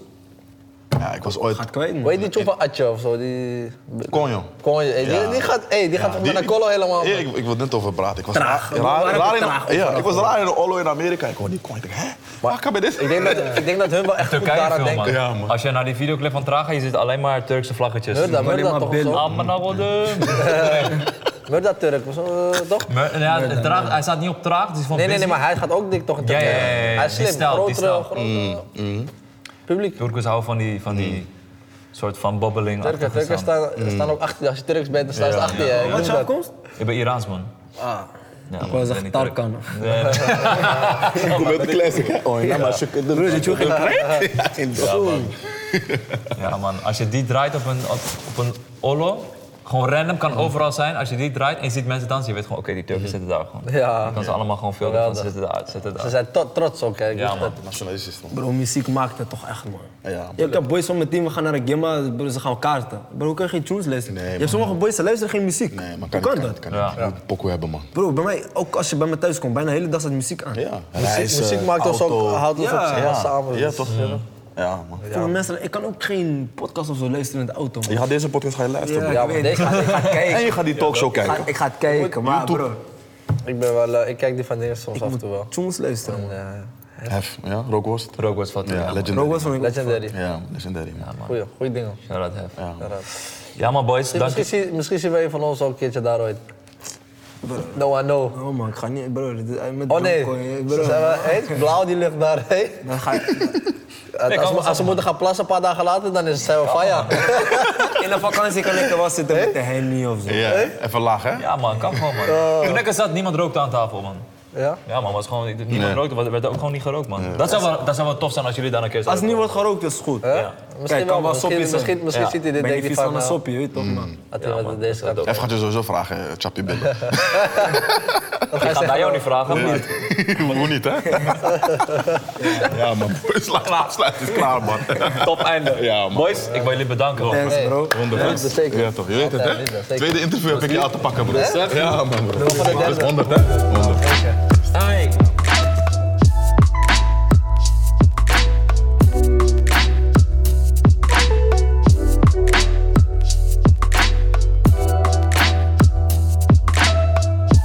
Ja, ik was ooit... gaat kwijt man. Hoe heet die tune van Atje of zo? Die. Konjo. Konje, hey, die, Ja. die gaat, hey, die gaat volgens mij naar Colo helemaal. Ja, man. ik, ik wil het net over praten. Ik was Traag. raar, We waren raar in, traag ja, overal. ik was raar in de Olo in Amerika. Ik hoorde die kon. Ik dacht, hè? Waar kan bij dit? Ik denk, dat, ik denk dat hun wel echt goed Turkije daaraan veel, denken. man. Ja, man. Als je naar die videoclip van Traga, je ziet alleen maar Turkse vlaggetjes. Murda, Alleen Murda maar toch? of billen. zo? Amman <laughs> nou, Awadum. Murda Turk of zo, eh, <laughs> toch? Maar, ja, traag, hij staat niet op traag, dus van Nee, nee, busy. nee, maar hij gaat ook dik toch een Ja, ja, ja, ja, ja. Hij is Die slim, stijl, grotere, die stijl. Mm, grotere publiek. Turkers houden van die, van die soort van bobbeling. Hmm. Turken, Turken staan, Mm. staan ook achter je. Als je Turks bent, dan staan ze achter je. Ik Wat doe is je dat. afkomst? Ik ben Iraans, man. Ah. Ja, man, Ik was ik ben echt niet Turk. Tarkan. Nee, nee. <laughs> kom met de classic, hè? Oh, ja, maar shukken. Broer, zit je ook in de Ja, man. Als je die draait op een, op, op een olo, gewoon random, Mm. kan overal zijn. Als je die draait en je ziet mensen dansen, je weet gewoon, oké, die Turken zitten daar gewoon. Ja. Dan kan ze allemaal gewoon veel van Geweldig. zitten daar, zitten Ze daar. zijn to- trots ook, hè. Ik Ja, wist man. dat. Nationalistisch, man. Bro, muziek maakt het toch echt, man. Ja, man. Ja, ik heb boys van mijn team, we gaan naar een gimma, bro, ze gaan kaarten. Bro, hoe kan je geen tunes luisteren? Nee, je man. hebt sommige boys, ze luisteren geen muziek. Nee, maar hoe kan, kan niet, dat? Kan, Ja. niet. Je moet pokoe hebben, man. Bro, bij mij, ook als je bij me thuis komt, bijna de hele dag staat muziek aan. Ja. eh, Muziek, muziek maakt ons ook, houdt ons Ja, ook zeg maar, ja. samen. Ja, Dus, toch? eh, Ja, man. Voor de mensen, ik kan ook geen podcast of zo luisteren in de auto. Man. Je gaat deze podcast gaan je luisteren, bro. Ja, maar deze ga ik <laughs> ga En je kijken. gaat die talkshow Ik, kijken. ga, ik ga het kijken, maar bro, Ik, ben wel, eh, ik kijk die van dingen soms af en toe wel. tunes luisteren. man. Ja, Hef, ja, rookworst. Rookworst valt Ja, in. legendary. Rookworst vond ik ook- legendary. Ja, man, legendary, man. Goeie, goeie dingen. Shout-out Hef. Ja. Inderdaad. man, boys. Dank Misschien, je. zie- misschien zien we een van ons al een keertje daar ooit. No one know. Oh man, ik ga niet, bro. dit- eh, Met Oh nee, Bronco, eh, ze bro. zijn wel heet, blauw die lucht daar. Hey. <laughs> Dan ga ik Als, we- als ze moeten gaan plassen een paar dagen later, dan is het fire. in de vakantie kan ik er wel zitten met de henny of zo. Ja, even laag, hè? Ja man, kan gewoon man. Oh. Toen ik er zat, niemand rookte aan tafel man. Ja? Ja man, was gewoon, niemand Nee. rookte, er werd ook gewoon niet gerookt man. Dat, zou wel, dat zou wel tof zijn als jullie daar een keer Als zouden het niet wordt gerookt, is het goed. Ja. Misschien wel, kan wel misschien, soppie zijn. misschien, misschien Ja. ziet hij dit Ben je denk ik vies van... van een eh, nou, soppie, weet je toch Mm. man. Had hij wat deze gaat dat doen. Hef gaat je sowieso vragen, eh, Chap je billen. <laughs> Ik ga daar jou niet vragen, maar Hoe niet, hè? ja, man. <laughs> Slaat, slaat is klaar, <laughs> man. top einde. Ja, man. Boys, ik wil jullie bedanken. man. Thanks bro. Ja, dat zeker. Ja, toch? Je weet het, Ja, hè? zeker. Tweede interview heb ik je aan te pakken, bro. Ja, man, bro. Doen we voor de Dat is derde. 100, hè? 100. Hey.